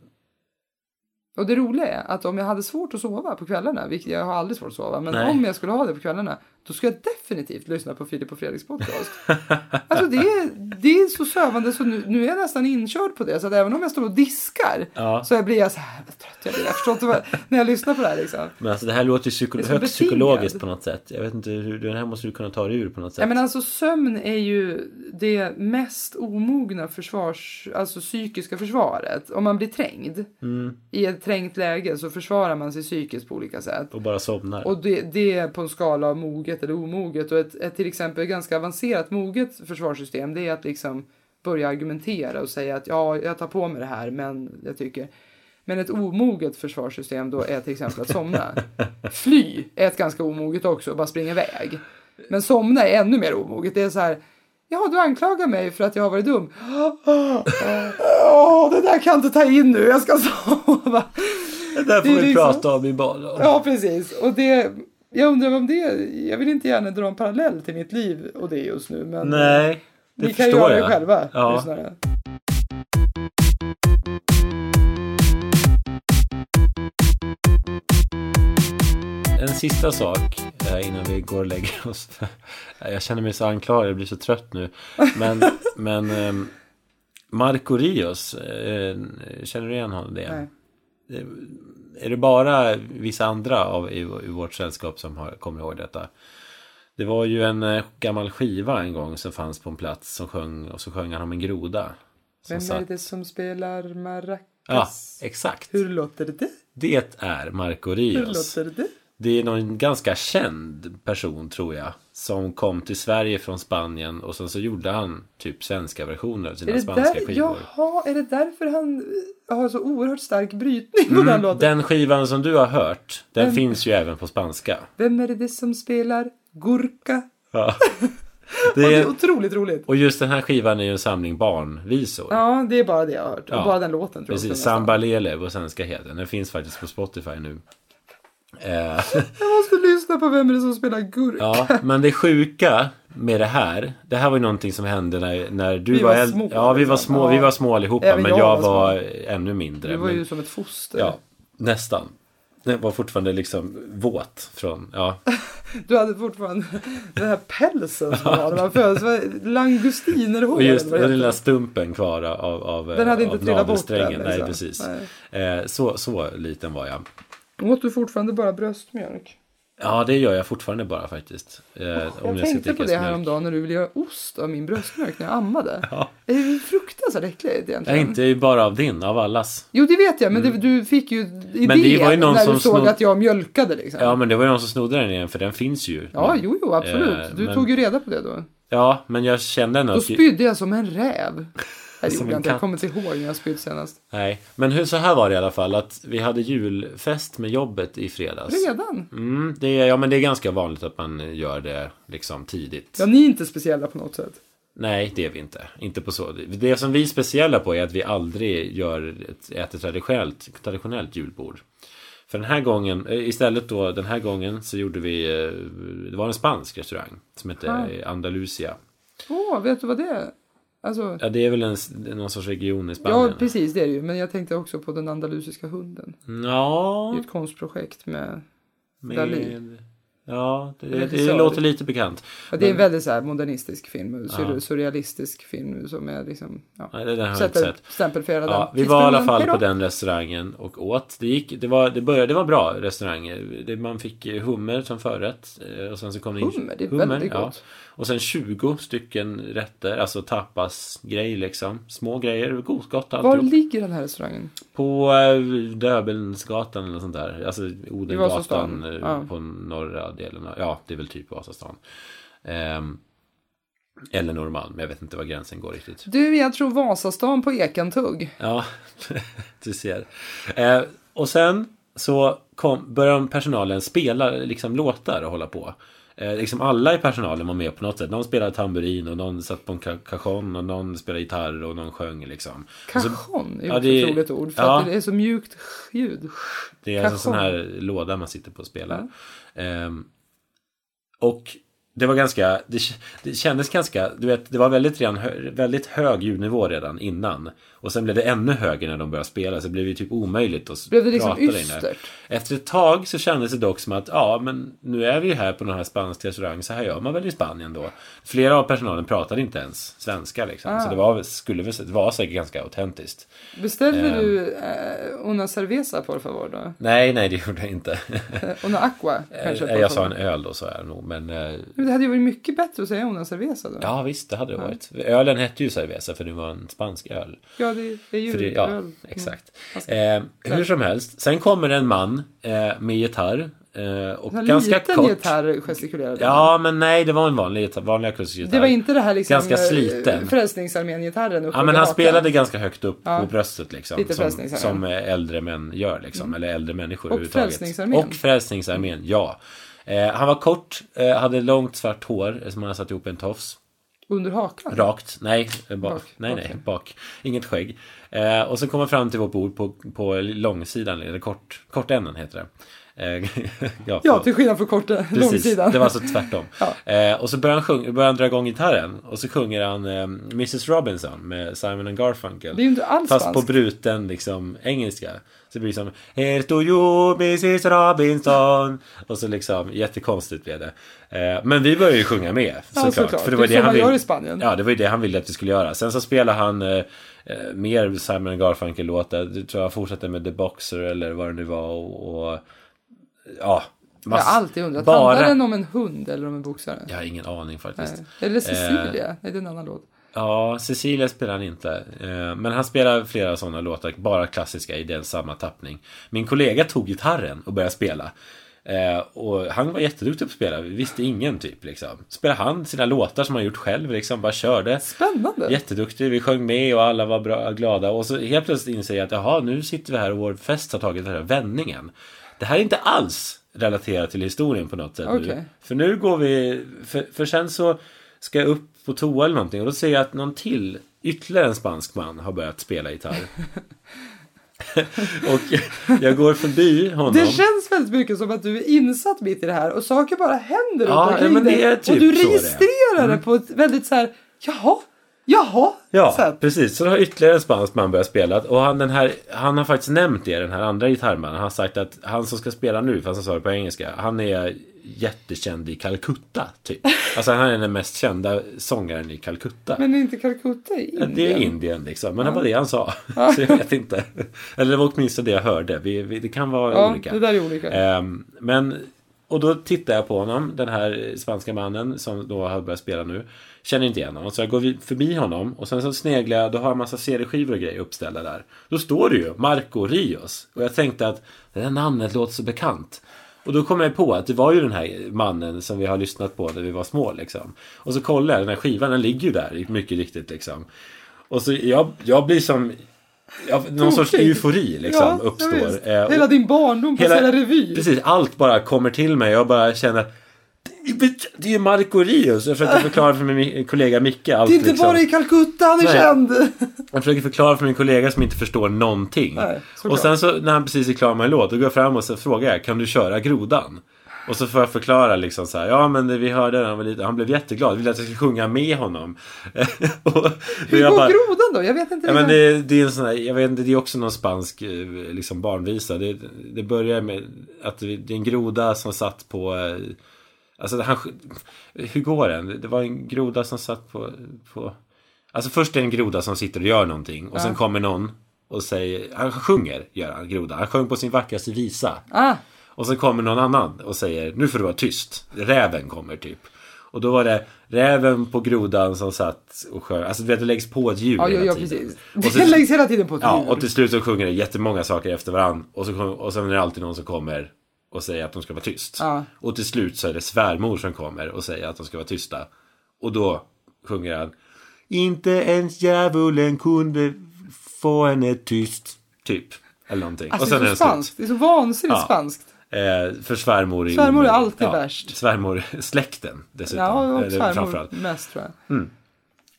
[SPEAKER 3] Och det roliga är att om jag hade svårt att sova på kvällarna, vilket jag har aldrig svårt att sova, men
[SPEAKER 2] Nej.
[SPEAKER 3] om jag skulle ha det på kvällarna, då skulle jag definitivt lyssna på Filip och Fredriks podcast. alltså det är, det är så sövande så nu, nu är jag nästan inkörd på det, så att även om jag står och diskar
[SPEAKER 2] Ja.
[SPEAKER 3] så blir jag så här vad trött, jag, blir, jag förstår inte vad, när jag lyssnar på det här liksom.
[SPEAKER 2] Men alltså det här låter ju psyko-
[SPEAKER 3] Det är så
[SPEAKER 2] högst
[SPEAKER 3] betingad.
[SPEAKER 2] psykologiskt på något sätt. Jag vet inte hur, den här måste du kunna ta dig ur på något sätt.
[SPEAKER 3] Ja, men alltså sömn är ju det mest omogna försvars, alltså psykiska försvaret. Om man blir trängd i ett trängt läge så försvarar man sig psykiskt på olika sätt.
[SPEAKER 2] Och bara somnar.
[SPEAKER 3] Och det, det är på en skala av moget eller omoget. Och ett, ett till exempel ganska avancerat moget försvarssystem det är att liksom börja argumentera och säga att ja, jag tar på mig det här, men jag tycker. Men ett omoget försvarssystem då är till exempel att somna. Fly är ett ganska omoget också, bara springa iväg. Men somna är ännu mer omoget. Det är så här, ja du anklagar mig för att jag har varit dum. Åh, det där kan jag inte ta in nu, jag ska sova.
[SPEAKER 2] det där får
[SPEAKER 3] det
[SPEAKER 2] vi
[SPEAKER 3] är liksom-
[SPEAKER 2] prata om i barndom.
[SPEAKER 3] Ja, precis. Och det, jag undrar om det, jag vill inte gärna dra en parallell till mitt liv och det just nu, men
[SPEAKER 2] Nej, det
[SPEAKER 3] ni kan
[SPEAKER 2] förstår
[SPEAKER 3] göra
[SPEAKER 2] jag.
[SPEAKER 3] det själva,
[SPEAKER 2] Ja.
[SPEAKER 3] lyssnare.
[SPEAKER 2] En sista sak eh, innan vi går och lägger oss. Eh, jag känner mig så anklagad, jag blir så trött nu. Men, men ehm, Marco Rios, eh, känner du igen honom? Det?
[SPEAKER 3] Nej.
[SPEAKER 2] Är det bara vissa andra av, i, i vårt sällskap som har, kommer ihåg detta? Det var ju en eh, gammal skiva en gång som fanns på en plats som sjöng, och så sjöng han om en groda. Som
[SPEAKER 3] Vem
[SPEAKER 2] satt-
[SPEAKER 3] är det som spelar
[SPEAKER 2] Ja,
[SPEAKER 3] maracas?
[SPEAKER 2] exakt.
[SPEAKER 3] Hur låter det?
[SPEAKER 2] Det är Marco
[SPEAKER 3] Hur
[SPEAKER 2] Rios.
[SPEAKER 3] låter det?
[SPEAKER 2] Det är någon ganska känd person tror jag. Som kom till Sverige från Spanien och sen så gjorde han typ svenska versioner av sina
[SPEAKER 3] Är det,
[SPEAKER 2] spanska
[SPEAKER 3] där,
[SPEAKER 2] skivor.
[SPEAKER 3] jaha, är det därför han eh, har så oerhört stark brytning på den låten?
[SPEAKER 2] Den skivan som du har hört, den finns ju även på spanska.
[SPEAKER 3] Vem är det som spelar gurka?
[SPEAKER 2] Ja.
[SPEAKER 3] Ja,
[SPEAKER 2] Det
[SPEAKER 3] det är
[SPEAKER 2] är,
[SPEAKER 3] otroligt roligt.
[SPEAKER 2] och just den här skivan är ju en samling barnvisor.
[SPEAKER 3] Ja, det är bara det jag har hört. Och
[SPEAKER 2] Ja.
[SPEAKER 3] bara den låten tror jag.
[SPEAKER 2] Precis,
[SPEAKER 3] också nästan.
[SPEAKER 2] Samba Lele på svenska heter den. Den finns faktiskt på Spotify nu. Eh,
[SPEAKER 3] Jag måste lyssna på vem är det som spelar gurka.
[SPEAKER 2] Ja, men det sjuka med det här. Det här var ju någonting som hände när, när du
[SPEAKER 3] Vi
[SPEAKER 2] var
[SPEAKER 3] var
[SPEAKER 2] äldre.
[SPEAKER 3] små,
[SPEAKER 2] ja, vi var
[SPEAKER 3] liksom.
[SPEAKER 2] små,
[SPEAKER 3] Ja.
[SPEAKER 2] vi var små allihopa.
[SPEAKER 3] Även
[SPEAKER 2] men jag,
[SPEAKER 3] jag var små.
[SPEAKER 2] var ännu mindre.
[SPEAKER 3] Du var
[SPEAKER 2] men,
[SPEAKER 3] ju som ett foster.
[SPEAKER 2] Ja, nästan. Jag var fortfarande liksom våt från, ja.
[SPEAKER 3] Du hade fortfarande den här pälsen som man har när man föds. Vad- Langustinerhår.
[SPEAKER 2] Och just
[SPEAKER 3] eller vad
[SPEAKER 2] den
[SPEAKER 3] det
[SPEAKER 2] lilla
[SPEAKER 3] heter.
[SPEAKER 2] stumpen kvar av, av, eh,
[SPEAKER 3] Den hade inte
[SPEAKER 2] av
[SPEAKER 3] trillat bort
[SPEAKER 2] navelsträngen.
[SPEAKER 3] än,
[SPEAKER 2] Nej,
[SPEAKER 3] liksom.
[SPEAKER 2] precis. Eh, Så, så liten var jag.
[SPEAKER 3] Åt du fortfarande bara bröstmjölk?
[SPEAKER 2] Ja, det gör jag fortfarande bara faktiskt. Eh,
[SPEAKER 3] Jag
[SPEAKER 2] ska
[SPEAKER 3] tänkte på
[SPEAKER 2] dricka
[SPEAKER 3] det
[SPEAKER 2] mjölk.
[SPEAKER 3] häromdagen när du ville göra ost av min bröstmjölk när jag ammade.
[SPEAKER 2] Ja.
[SPEAKER 3] Det är ju fruktansvärt äckligt
[SPEAKER 2] Nej,
[SPEAKER 3] egentligen.
[SPEAKER 2] inte bara av din, av allas.
[SPEAKER 3] Jo, det vet jag, men det, du fick ju
[SPEAKER 2] Mm. var ju
[SPEAKER 3] idén
[SPEAKER 2] någon
[SPEAKER 3] när
[SPEAKER 2] som
[SPEAKER 3] du såg
[SPEAKER 2] snod-
[SPEAKER 3] att jag mjölkade liksom.
[SPEAKER 2] Ja men det var ju någon som snodde den igen för den finns ju.
[SPEAKER 3] Ja,
[SPEAKER 2] nu.
[SPEAKER 3] jo, jo, absolut.
[SPEAKER 2] Eh,
[SPEAKER 3] du
[SPEAKER 2] men-
[SPEAKER 3] tog ju reda på det då.
[SPEAKER 2] Ja, men jag kände ändå
[SPEAKER 3] Då
[SPEAKER 2] att...
[SPEAKER 3] spydde jag som en räv. Nej,
[SPEAKER 2] Som
[SPEAKER 3] det gjorde
[SPEAKER 2] en
[SPEAKER 3] jag inte. Jag
[SPEAKER 2] katt.
[SPEAKER 3] kommer inte ihåg när jag spydde senast.
[SPEAKER 2] Nej, men hur, så här var det i alla fall att vi hade julfest med jobbet i fredags.
[SPEAKER 3] Redan?
[SPEAKER 2] Mm, det är, ja men det är ganska vanligt att man gör det liksom tidigt.
[SPEAKER 3] Ja, ni är inte speciella på något sätt.
[SPEAKER 2] Nej, det är vi inte. Inte på så. Det som vi är speciella på är att vi aldrig gör ett, äter traditionellt, traditionellt julbord. För den här gången, eh, istället då den här gången så gjorde vi, eh, det var en spansk restaurang som hette
[SPEAKER 3] Ah.
[SPEAKER 2] eh, Andalusia.
[SPEAKER 3] Åh, vet du vad det är? Alltså,
[SPEAKER 2] Ja, det är väl en, s- någon sorts region i
[SPEAKER 3] ja,
[SPEAKER 2] Spanien?
[SPEAKER 3] precis det är det ju. Men jag tänkte också på den andalusiska hunden. Det
[SPEAKER 2] Ja,
[SPEAKER 3] är ett konstprojekt med... Dalí.
[SPEAKER 2] med, ja det, det,
[SPEAKER 3] Regissör.
[SPEAKER 2] låter lite bekant.
[SPEAKER 3] Ja, det är en
[SPEAKER 2] Men-
[SPEAKER 3] väldigt så här modernistisk film. sur-
[SPEAKER 2] Ja.
[SPEAKER 3] Surrealistisk film som är liksom... Ja.
[SPEAKER 2] Nej, det där har jag inte
[SPEAKER 3] Sätter
[SPEAKER 2] sett.
[SPEAKER 3] stämpelfera
[SPEAKER 2] Ja,
[SPEAKER 3] den.
[SPEAKER 2] vi var i alla
[SPEAKER 3] Tidsperioden.
[SPEAKER 2] fall
[SPEAKER 3] Hej
[SPEAKER 2] på
[SPEAKER 3] då.
[SPEAKER 2] den restaurangen och åt. Det, gick, det, var, det började vara bra restauranger. Det, man fick eh, hummer som förrätt. eh, Och sen så kom det in
[SPEAKER 3] Hummer, det är väldigt gott.
[SPEAKER 2] Och sen 20 stycken rätter, alltså tapas-grej liksom. Små grejer, gott, gott
[SPEAKER 3] Var
[SPEAKER 2] alltihop.
[SPEAKER 3] ligger den här restaurangen?
[SPEAKER 2] På eh, Döbelnsgatan eller något sånt där. Alltså Odengatan
[SPEAKER 3] Vasastan,
[SPEAKER 2] eh,
[SPEAKER 3] ja.
[SPEAKER 2] på norra delen. av- Ja, det är väl typ Vasastan. Ehm, eller Norrmalm, jag vet inte var gränsen går riktigt.
[SPEAKER 3] Du, jag tror Vasastan på Ekantugg.
[SPEAKER 2] Ja, du ser. Eh, och sen så kom, började personalen spela liksom låtar och hålla på. Eh, liksom alla i personalen var med på något sätt. Någon spelade tamburin och någon satt på en ca- cajon och någon spelade gitarr och någon sjöng liksom. Och så-
[SPEAKER 3] Cajon är ju
[SPEAKER 2] ja,
[SPEAKER 3] också
[SPEAKER 2] det-
[SPEAKER 3] ett roligt ord. För
[SPEAKER 2] ja.
[SPEAKER 3] att det är så mjukt ljud.
[SPEAKER 2] Det är alltså en sån
[SPEAKER 3] Cajon.
[SPEAKER 2] här låda man sitter på och spelar. Ehm, och det var ganska, det, k- det kändes ganska, du vet, det var väldigt, redan, hö- väldigt hög ljudnivå redan innan. Och sen blev det ännu högre när de började spela, så det blev ju typ omöjligt att s-
[SPEAKER 3] Blev det liksom
[SPEAKER 2] prata där inne.
[SPEAKER 3] ystert?
[SPEAKER 2] Efter ett tag så kändes det dock som att, ja, men nu är vi ju här på någon här spansk restaurang, så här gör man väl i Spanien då. Flera av personalen pratade inte ens svenska liksom,
[SPEAKER 3] Ah.
[SPEAKER 2] så det var, skulle, väl- det var säkert ganska autentiskt.
[SPEAKER 3] Beställde
[SPEAKER 2] Ehm.
[SPEAKER 3] du eh, Una Cerveza por favor då?
[SPEAKER 2] Nej, nej, det gjorde jag inte.
[SPEAKER 3] Eh, Una Aqua kanske?
[SPEAKER 2] Eh,
[SPEAKER 3] por
[SPEAKER 2] Jag sa
[SPEAKER 3] favor.
[SPEAKER 2] en öl då sa jag nog, men eh,
[SPEAKER 3] Men det hade ju varit mycket bättre att säga Una Cerveza då.
[SPEAKER 2] ja visst det hade det varit. Ölen hette ju cerveza för det var en spansk öl.
[SPEAKER 3] Ja, det är ju
[SPEAKER 2] För det, ja,
[SPEAKER 3] öl.
[SPEAKER 2] exakt.
[SPEAKER 3] Mm.
[SPEAKER 2] Eh, hur som helst, sen kommer en man eh, med gitarr eh, och
[SPEAKER 3] En
[SPEAKER 2] ganska
[SPEAKER 3] liten
[SPEAKER 2] kort.
[SPEAKER 3] gitarr gestikulerade.
[SPEAKER 2] Ja, men nej, det var en vanlig gitarr, vanlig akustisk gitarr.
[SPEAKER 3] Det var inte det här liksom
[SPEAKER 2] Ganska
[SPEAKER 3] eh,
[SPEAKER 2] sliten.
[SPEAKER 3] Frälsningsarmén-gitarren uppe
[SPEAKER 2] Ja, men
[SPEAKER 3] över
[SPEAKER 2] han
[SPEAKER 3] hakan.
[SPEAKER 2] spelade ganska högt upp
[SPEAKER 3] Ja.
[SPEAKER 2] på bröstet liksom.
[SPEAKER 3] Lite
[SPEAKER 2] som,
[SPEAKER 3] Frälsningsarmén. Mm.
[SPEAKER 2] som eh, äldre män gör liksom. Eller äldre människor
[SPEAKER 3] Och
[SPEAKER 2] överhuvudtaget.
[SPEAKER 3] Frälsningsarmén.
[SPEAKER 2] Och Frälsningsarmén, ja. Eh, han var kort, eh, hade långt svart hår eh, som han hade satt ihop i en tofs.
[SPEAKER 3] Under hakan?
[SPEAKER 2] Rakt, nej, eh, bak.
[SPEAKER 3] Bak,
[SPEAKER 2] nej,
[SPEAKER 3] okej.
[SPEAKER 2] nej, bak. Inget skägg. Eh, och så kom han fram till vårt bord på, på långsidan, eller kort, kortänden heter det. Eh, ja,
[SPEAKER 3] Ja,
[SPEAKER 2] förlåt.
[SPEAKER 3] till skillnad från korta
[SPEAKER 2] Precis,
[SPEAKER 3] långsidan.
[SPEAKER 2] det var alltså tvärtom. eh, och så börjar han, sjung, börjar han dra igång gitarren och så sjunger han eh, Mrs Robinson med Simon and Garfunkel.
[SPEAKER 3] Det är ju inte alls
[SPEAKER 2] Fast på
[SPEAKER 3] spanskt.
[SPEAKER 2] bruten liksom engelska. Så det blir som Here to you Mrs Robinson. Och så liksom jättekonstigt blev det. Eh, men vi började ju sjunga med såklart.
[SPEAKER 3] såklart.
[SPEAKER 2] För det var
[SPEAKER 3] Det
[SPEAKER 2] det,
[SPEAKER 3] är så
[SPEAKER 2] han
[SPEAKER 3] man gör
[SPEAKER 2] ville-
[SPEAKER 3] i Spanien.
[SPEAKER 2] Ja, det var ju det han ville att vi skulle göra. Sen så spelade han eh, eh, mer Simon and Garfunkel-låtar. Det tror jag fortsatte med The Boxer eller vad det nu var. Och, och ja.
[SPEAKER 3] Jag
[SPEAKER 2] mass-
[SPEAKER 3] har alltid undrat.
[SPEAKER 2] bara-
[SPEAKER 3] Handlar den om en hund eller om en boxare?
[SPEAKER 2] jag har ingen aning faktiskt.
[SPEAKER 3] Nej. Eller Cecilia? Nej, det är en annan låt.
[SPEAKER 2] eh, Ja, Cecilia spelar han inte. Eh, Men han spelar flera sådana låtar, bara klassiska i den samma tappning. Min kollega tog gitarren och började spela. Eh, Och han var jätteduktig på att spela, vi visste ingen typ liksom. Spelade han sina låtar som han gjort själv liksom, bara körde.
[SPEAKER 3] Spännande!
[SPEAKER 2] Jätteduktig, vi sjöng med och alla var bra, glada. Och så helt plötsligt inser jag att jaha, nu sitter vi här och vår fest har tagit den här vändningen. Det här är inte alls relaterat till historien på något sätt
[SPEAKER 3] Okej.
[SPEAKER 2] nu. För nu går vi, för, för sen så ska jag upp på toa eller någonting och då ser jag att någon till, ytterligare en spansk man har börjat spela gitarr. och jag går förbi honom.
[SPEAKER 3] Det känns väldigt mycket som att du är insatt mitt i det här och saker bara
[SPEAKER 2] Ja,
[SPEAKER 3] händer runt omkring
[SPEAKER 2] ja, men det är
[SPEAKER 3] dig.
[SPEAKER 2] typ
[SPEAKER 3] och du
[SPEAKER 2] så det är. Mm.
[SPEAKER 3] registrerar det på ett väldigt så här, jaha, jaha,
[SPEAKER 2] Ja,
[SPEAKER 3] sätt.
[SPEAKER 2] precis. Så då har ytterligare en spansk man börjat spela. Och han, den här, han har faktiskt nämnt det, den här andra gitarrmannen. Han har sagt att han som ska spela nu, fast han sa det på engelska, han är jättekänd i Calcutta, typ. Alltså han är den mest kända sångaren i Calcutta.
[SPEAKER 3] Men är inte Calcutta i
[SPEAKER 2] Ja,
[SPEAKER 3] Indien?
[SPEAKER 2] det är Indien liksom, men det var det han sa. Så jag vet inte. Eller det var åtminstone det jag hörde. Vi, vi, det kan vara
[SPEAKER 3] Ja,
[SPEAKER 2] olika.
[SPEAKER 3] det där är olika.
[SPEAKER 2] Ehm, men, och då tittar jag på honom, den här spanska mannen som då har börjat spela nu. Känner inte igen honom, så jag går vid- förbi honom och sen så sneglar jag, då har jag en massa CD-skivor och grejer uppställda där. Då står det ju Marco Rios. Och jag tänkte att det där namnet låter så bekant. Och då kom jag på att det var ju den här mannen som vi har lyssnat på när vi var små liksom. Och så kollar jag, den här skivan den ligger ju där mycket riktigt liksom. Och så jag, jag blir som, jag, någon sorts
[SPEAKER 3] Tokig.
[SPEAKER 2] eufori liksom
[SPEAKER 3] ja,
[SPEAKER 2] uppstår.
[SPEAKER 3] ja, visst.
[SPEAKER 2] Eh, och-
[SPEAKER 3] Hela din barndom på hela, revy.
[SPEAKER 2] Precis, allt bara kommer till mig. Jag bara känner Det är ju Marco Rius. Jag försökte förklara för min kollega Micke allt.
[SPEAKER 3] Det är inte
[SPEAKER 2] liksom.
[SPEAKER 3] bara i Calcutta han är
[SPEAKER 2] Nej.
[SPEAKER 3] känd!
[SPEAKER 2] Jag försöker förklara för min kollega som inte förstår någonting.
[SPEAKER 3] Nej, såklart.
[SPEAKER 2] och sen så när han precis är klar med en låt, då går jag fram och så frågar jag, kan du köra grodan? Och så får jag förklara liksom så här, ja men det- vi hörde den, han, var lite, han blev jätteglad, ville att jag skulle sjunga med honom. och då
[SPEAKER 3] Hur går grodan då? Jag vet inte.
[SPEAKER 2] Ja, men
[SPEAKER 3] riktigt.
[SPEAKER 2] det, det är en sån här, jag vet inte, det är också någon spansk eh, liksom barnvisa. Det, det börjar med att det det är en groda som satt på... eh, Alltså han, hur går den? Det var en groda som satt på... på alltså först är det en groda som sitter och gör någonting och sen kommer någon och säger... Han sjunger, gör han, groda. Han sjöng på sin vackraste visa.
[SPEAKER 3] Ah,
[SPEAKER 2] Och så kommer någon annan och säger nu får du vara tyst. Räven kommer typ. Och då var det räven på grodan som satt och sjöng. Alltså du vet det läggs på ett ljud
[SPEAKER 3] ja, ja,
[SPEAKER 2] hela
[SPEAKER 3] ja,
[SPEAKER 2] tiden.
[SPEAKER 3] precis.
[SPEAKER 2] Och
[SPEAKER 3] Det
[SPEAKER 2] så-
[SPEAKER 3] läggs hela tiden på ett
[SPEAKER 2] Ja,
[SPEAKER 3] ljud.
[SPEAKER 2] och till slut så sjunger det jättemånga saker efter varandra. Och, så kom, och sen är det alltid någon som kommer och säger att de ska vara tyst.
[SPEAKER 3] Ja.
[SPEAKER 2] Och till slut så är det svärmor som kommer och säger att de ska vara tysta. Och då sjunger han. Inte ens djävulen kunde få henne tyst. Typ. Eller någonting.
[SPEAKER 3] Alltså,
[SPEAKER 2] och sen
[SPEAKER 3] det
[SPEAKER 2] är
[SPEAKER 3] är så
[SPEAKER 2] den slut.
[SPEAKER 3] spanskt. Det är så vansinnigt
[SPEAKER 2] Ja.
[SPEAKER 3] spanskt.
[SPEAKER 2] Eh, för svärmor är ju-
[SPEAKER 3] Svärmor är alltid värst.
[SPEAKER 2] Svärmorsläkten dessutom. Eh,
[SPEAKER 3] Ja, och
[SPEAKER 2] Eller framförallt.
[SPEAKER 3] svärmor mest tror jag.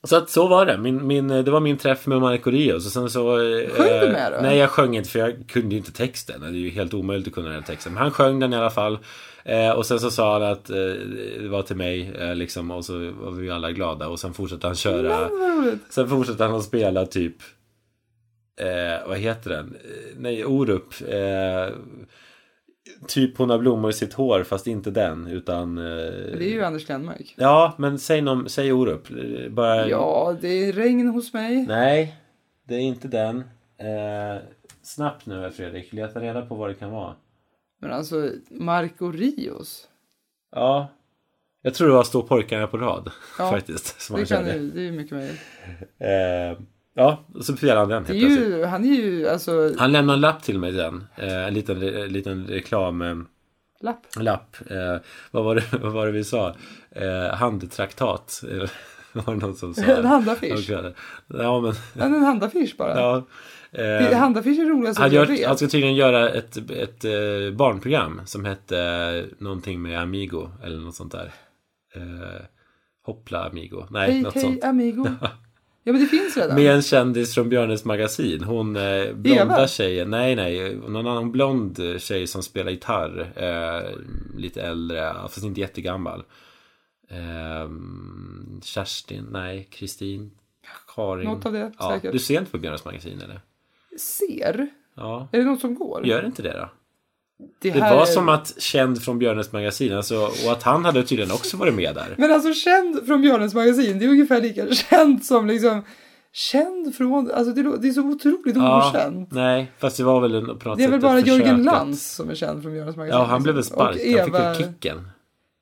[SPEAKER 2] Så att så var det. Min, min, eh, det var min träff med Marco Rios. Och sen så... eh,
[SPEAKER 3] Sjöng du med då?
[SPEAKER 2] Nej, jag sjöng inte för jag kunde ju inte texten. Det är ju helt omöjligt att kunna den här texten. Men han sjöng den i alla fall. Eh, och sen så sa han att eh, det var till mig eh, liksom. Och så var vi alla glada. Och sen fortsatte han köra...
[SPEAKER 3] Vad roligt.
[SPEAKER 2] Sen fortsatte han att spela typ eh, Vad heter den? Eh, Nej, Orup eh, Typ hon har blommor i sitt hår fast inte den utan eh,
[SPEAKER 3] Det är ju Anders Glenmark.
[SPEAKER 2] Ja, men säg, någon, säg Orup Eh, Bara
[SPEAKER 3] Ja, det är regn hos mig.
[SPEAKER 2] Nej, det är inte den eh, Snabbt nu Fredrik, leta reda på vad det kan vara
[SPEAKER 3] Men alltså, Marco Rios.
[SPEAKER 2] Ja Jag tror det var Stå pojkarna på rad
[SPEAKER 3] Ja,
[SPEAKER 2] faktiskt som
[SPEAKER 3] Det,
[SPEAKER 2] han
[SPEAKER 3] kan
[SPEAKER 2] körde
[SPEAKER 3] ju, det är ju mycket möjligt.
[SPEAKER 2] eh, Ja, och så spelade han den helt
[SPEAKER 3] Det är
[SPEAKER 2] plötsligt
[SPEAKER 3] ju, han är ju alltså,
[SPEAKER 2] Han lämnade en lapp till mig sen. Eh, en liten, en liten reklamlapp.
[SPEAKER 3] lapp.
[SPEAKER 2] Eh, vad, var det, vad var det vi sa? Eh, handtraktat. Eh, var det någon som sa? det?
[SPEAKER 3] En handaffisch.
[SPEAKER 2] Ja, Ja, men...
[SPEAKER 3] Han är en handaffisch bara.
[SPEAKER 2] Ja.
[SPEAKER 3] Det-
[SPEAKER 2] Eh,
[SPEAKER 3] Handaffisch är roligast
[SPEAKER 2] han,
[SPEAKER 3] att jag
[SPEAKER 2] gör, han
[SPEAKER 3] vet.
[SPEAKER 2] ska tydligen göra ett, ett eh, barnprogram som hette eh, någonting med Amigo eller något sånt där. Eh, Hoppla Amigo. Nej,
[SPEAKER 3] Hej,
[SPEAKER 2] något sånt.
[SPEAKER 3] hej, amigo. Ja, men det finns redan.
[SPEAKER 2] Med en kändis från Björnes magasin. Hon eh, blonda
[SPEAKER 3] Eva?
[SPEAKER 2] tjejen. Nej, nej. Någon annan blond tjej som spelar gitarr. Eh, lite äldre, fast inte jättegammal. Eh, Kerstin, nej. Kristin. Karin.
[SPEAKER 3] Något av det,
[SPEAKER 2] ja,
[SPEAKER 3] säkert.
[SPEAKER 2] Du ser inte på Björnes magasin eller?
[SPEAKER 3] Ser?
[SPEAKER 2] Ja.
[SPEAKER 3] Är det något som går?
[SPEAKER 2] Gör inte det då? Det
[SPEAKER 3] Mm. här
[SPEAKER 2] var
[SPEAKER 3] är-
[SPEAKER 2] som att känd från Björnes magasin. Alltså, och att han hade tydligen också varit med där.
[SPEAKER 3] Men alltså känd från Björnens magasin, det är ungefär lika känd som liksom... Känd från... Alltså det, lå- det är så otroligt okänt.
[SPEAKER 2] nej, fast det var väl en, på något
[SPEAKER 3] Det är
[SPEAKER 2] sätt
[SPEAKER 3] väl
[SPEAKER 2] ett
[SPEAKER 3] bara Jörgen
[SPEAKER 2] försök att-
[SPEAKER 3] Lantz som är känd från Björnens magasin.
[SPEAKER 2] Alltså, Ja, han blev väl
[SPEAKER 3] liksom.
[SPEAKER 2] sparkad.
[SPEAKER 3] Och Eva...
[SPEAKER 2] Han fick ju kicken.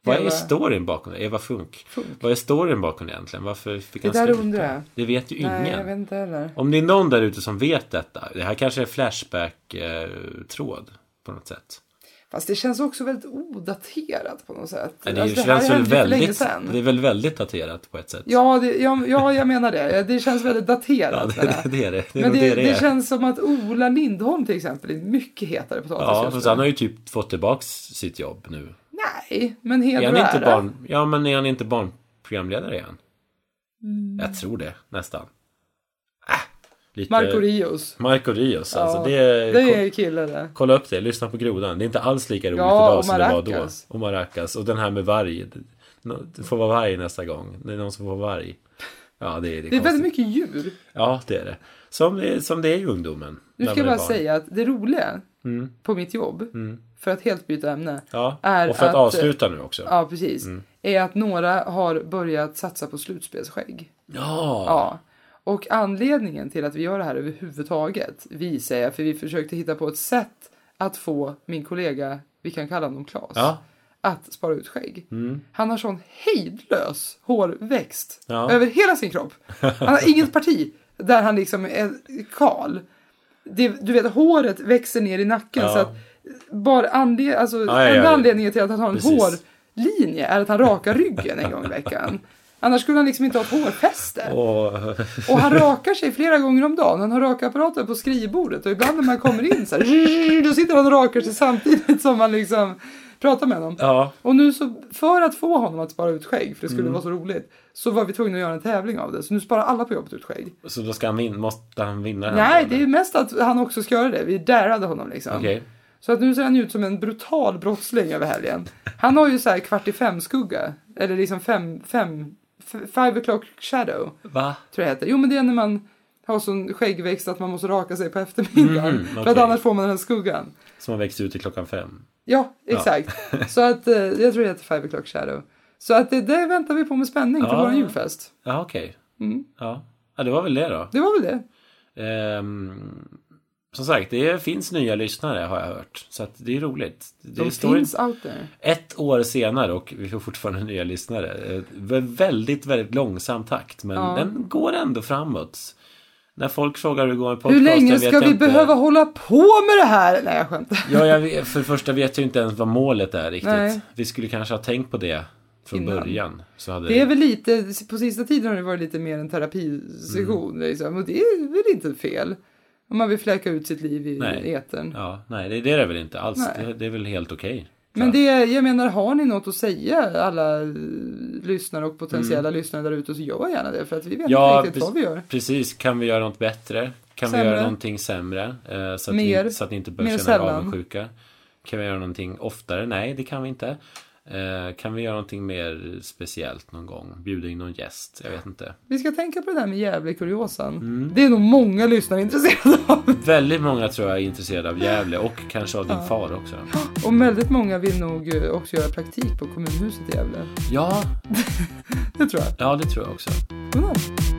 [SPEAKER 2] Vad är
[SPEAKER 3] Eva-
[SPEAKER 2] storyn bakom det? Eva Funk. Vad är storyn bakom det egentligen? Varför fick
[SPEAKER 3] Det
[SPEAKER 2] han
[SPEAKER 3] där
[SPEAKER 2] stryk?
[SPEAKER 3] undrar jag.
[SPEAKER 2] Det vet ju
[SPEAKER 3] Nej, jag
[SPEAKER 2] ingen.
[SPEAKER 3] vet inte heller.
[SPEAKER 2] Om det är någon där ute som vet detta. Det här kanske är Flashback-tråd eh, på något sätt.
[SPEAKER 3] Alltså, Fast det känns också väldigt odaterat på något sätt.
[SPEAKER 2] Men det
[SPEAKER 3] Alltså, här
[SPEAKER 2] känns väl
[SPEAKER 3] hände ju för länge
[SPEAKER 2] väldigt,
[SPEAKER 3] sedan.
[SPEAKER 2] det är väl väldigt daterat på ett sätt.
[SPEAKER 3] Ja, det, ja, ja, jag menar det. Det känns väldigt
[SPEAKER 2] Ja,
[SPEAKER 3] daterat.
[SPEAKER 2] det, det, det är
[SPEAKER 3] det där.
[SPEAKER 2] det. Det är
[SPEAKER 3] Men
[SPEAKER 2] nog
[SPEAKER 3] det,
[SPEAKER 2] det det
[SPEAKER 3] det
[SPEAKER 2] är.
[SPEAKER 3] känns som att Ola Lindholm till exempel är mycket hetare potatis
[SPEAKER 2] Ja,
[SPEAKER 3] just nu.
[SPEAKER 2] fast han har ju typ fått tillbaks sitt jobb nu.
[SPEAKER 3] Nej, men heder
[SPEAKER 2] Är han
[SPEAKER 3] och
[SPEAKER 2] inte
[SPEAKER 3] ära.
[SPEAKER 2] barn... Ja, men är han inte barnprogramledare igen?
[SPEAKER 3] Mm.
[SPEAKER 2] Jag tror det, nästan. Äh, lite...
[SPEAKER 3] Marco Rios.
[SPEAKER 2] Marco Rios,
[SPEAKER 3] Ja,
[SPEAKER 2] alltså Eh, det är...
[SPEAKER 3] Det är killen det.
[SPEAKER 2] Kolla upp det, lyssna på grodan. Det är inte alls lika roligt
[SPEAKER 3] Ja,
[SPEAKER 2] idag
[SPEAKER 3] och
[SPEAKER 2] som det var då.
[SPEAKER 3] maracas.
[SPEAKER 2] Och maracas. Och den här med varg. Nå- Du får vara varg nästa gång. Det är någon som får vara varg. Ja, det är det.
[SPEAKER 3] Det är
[SPEAKER 2] konstigt.
[SPEAKER 3] väldigt mycket djur.
[SPEAKER 2] Ja, det är det. Som det, som det är i ungdomen.
[SPEAKER 3] Nu
[SPEAKER 2] när
[SPEAKER 3] ska jag
[SPEAKER 2] man är
[SPEAKER 3] bara
[SPEAKER 2] barn. Mm,
[SPEAKER 3] säga att det roliga på mitt jobb, för att helt byta ämne,
[SPEAKER 2] Ja,
[SPEAKER 3] är
[SPEAKER 2] och för att,
[SPEAKER 3] att-
[SPEAKER 2] avsluta nu också. Ja. Mm.
[SPEAKER 3] ja precis, är att några har börjat satsa på slutspelsskägg. Ja. Och anledningen till att vi gör det här överhuvudtaget, vi säger, för vi försökte hitta på ett sätt att få min kollega, vi kan kalla honom Klas,
[SPEAKER 2] Ja. Mm.
[SPEAKER 3] att spara ut skägg. Han har sån hejdlös hårväxt
[SPEAKER 2] Ja.
[SPEAKER 3] över hela sin kropp. Han har inget parti där han liksom är kal. Det, du vet, håret växer ner i nacken
[SPEAKER 2] Ja.
[SPEAKER 3] så att bara anled, alltså,
[SPEAKER 2] Ja, ja, ja.
[SPEAKER 3] enda anledningen till att han har en
[SPEAKER 2] Precis.
[SPEAKER 3] hårlinje är att han rakar ryggen en gång i veckan. Annars skulle han liksom inte ha ett hårfäste.
[SPEAKER 2] Och,
[SPEAKER 3] Och han rakar sig flera gånger om dagen. Han har rakapparaten på skrivbordet och ibland när man kommer in så här, då sitter han och rakar sig samtidigt som man liksom pratar med honom.
[SPEAKER 2] ja,
[SPEAKER 3] Och nu så, för att få honom att spara ut skägg, för det skulle vara så roligt, så var vi tvungna att göra en tävling av det. Så nu sparar alla på jobbet ut skägg.
[SPEAKER 2] så då ska han vinna, måste han vinna den här
[SPEAKER 3] Nej, det
[SPEAKER 2] tävlingen?
[SPEAKER 3] är ju mest att han också ska göra det. Vi darade honom liksom.
[SPEAKER 2] Okej.
[SPEAKER 3] Så att nu ser han ut som en brutal brottsling över helgen. Han har ju så här kvart i fem-skugga. Eller liksom fem, fem, f- five o'clock shadow.
[SPEAKER 2] Va?
[SPEAKER 3] Tror jag heter. Jo men det är när man har sån skäggväxt att man måste raka sig på eftermiddagen.
[SPEAKER 2] Mhm,
[SPEAKER 3] För att
[SPEAKER 2] okej.
[SPEAKER 3] annars får man den här skuggan.
[SPEAKER 2] Som har växt ut till klockan fem.
[SPEAKER 3] Ja, exakt. så att eh, jag tror det heter five o'clock shadow. Så att det, det väntar vi på med spänning till
[SPEAKER 2] Ja.
[SPEAKER 3] vår julfest.
[SPEAKER 2] Ja, okej.
[SPEAKER 3] Mm.
[SPEAKER 2] Ja. ja, det var väl det då.
[SPEAKER 3] Det var väl det.
[SPEAKER 2] Ehm, som sagt, det finns nya lyssnare har jag hört. Så att det är roligt. Det
[SPEAKER 3] De
[SPEAKER 2] står
[SPEAKER 3] finns out there.
[SPEAKER 2] ett år senare och vi får fortfarande nya lyssnare. Eh, Väldigt, väldigt långsam takt, men
[SPEAKER 3] Ja.
[SPEAKER 2] den går ändå framåt. När folk frågar hur det går med
[SPEAKER 3] Hur
[SPEAKER 2] podcasten
[SPEAKER 3] länge
[SPEAKER 2] vet
[SPEAKER 3] ska
[SPEAKER 2] jag
[SPEAKER 3] vi
[SPEAKER 2] inte...
[SPEAKER 3] behöva hålla på med det här? Nej, jag skämtar.
[SPEAKER 2] Ja, jag vet, för det första vet jag inte ens vad målet är riktigt.
[SPEAKER 3] Nej.
[SPEAKER 2] Vi skulle kanske ha tänkt på det från
[SPEAKER 3] Innan.
[SPEAKER 2] början. Så hade
[SPEAKER 3] Det är väl lite, på sista tiden har det varit lite mer en terapisession
[SPEAKER 2] Mm.
[SPEAKER 3] liksom, och det är väl inte fel. Om man vill fläka ut sitt liv i
[SPEAKER 2] Nej.
[SPEAKER 3] etern.
[SPEAKER 2] Ja, nej, det, det är det väl inte alls.
[SPEAKER 3] Nej.
[SPEAKER 2] Det, det är väl helt okej.
[SPEAKER 3] Men det, jag menar, har ni något att säga alla eh, lyssnare och potentiella lyssnare där ute så gör gärna det för att vi vet
[SPEAKER 2] Mm. Ja,
[SPEAKER 3] inte riktigt vad vi gör.
[SPEAKER 2] Precis, kan vi göra något bättre? Kan
[SPEAKER 3] Sämre.
[SPEAKER 2] vi göra någonting sämre? Eh, så, att
[SPEAKER 3] Mer.
[SPEAKER 2] Ni, så att ni inte behöver
[SPEAKER 3] Mer
[SPEAKER 2] känna er
[SPEAKER 3] sällan.
[SPEAKER 2] avundsjuka. Kan vi göra någonting oftare? Nej, det kan vi inte. Eh, kan vi göra någonting mer speciellt någon gång? Bjuda in någon gäst? Jag vet inte.
[SPEAKER 3] Vi ska tänka på det där med jävlig kuriosan.
[SPEAKER 2] Mm.
[SPEAKER 3] Det är nog många lyssnare intresserade av.
[SPEAKER 2] Väldigt många tror jag är intresserade av Gävle och kanske av din far också.
[SPEAKER 3] Och väldigt många vill nog eh, också göra praktik på kommunhuset i Gävle.
[SPEAKER 2] Ja,
[SPEAKER 3] Det tror jag.
[SPEAKER 2] ja, det tror jag också.
[SPEAKER 3] Godnatt.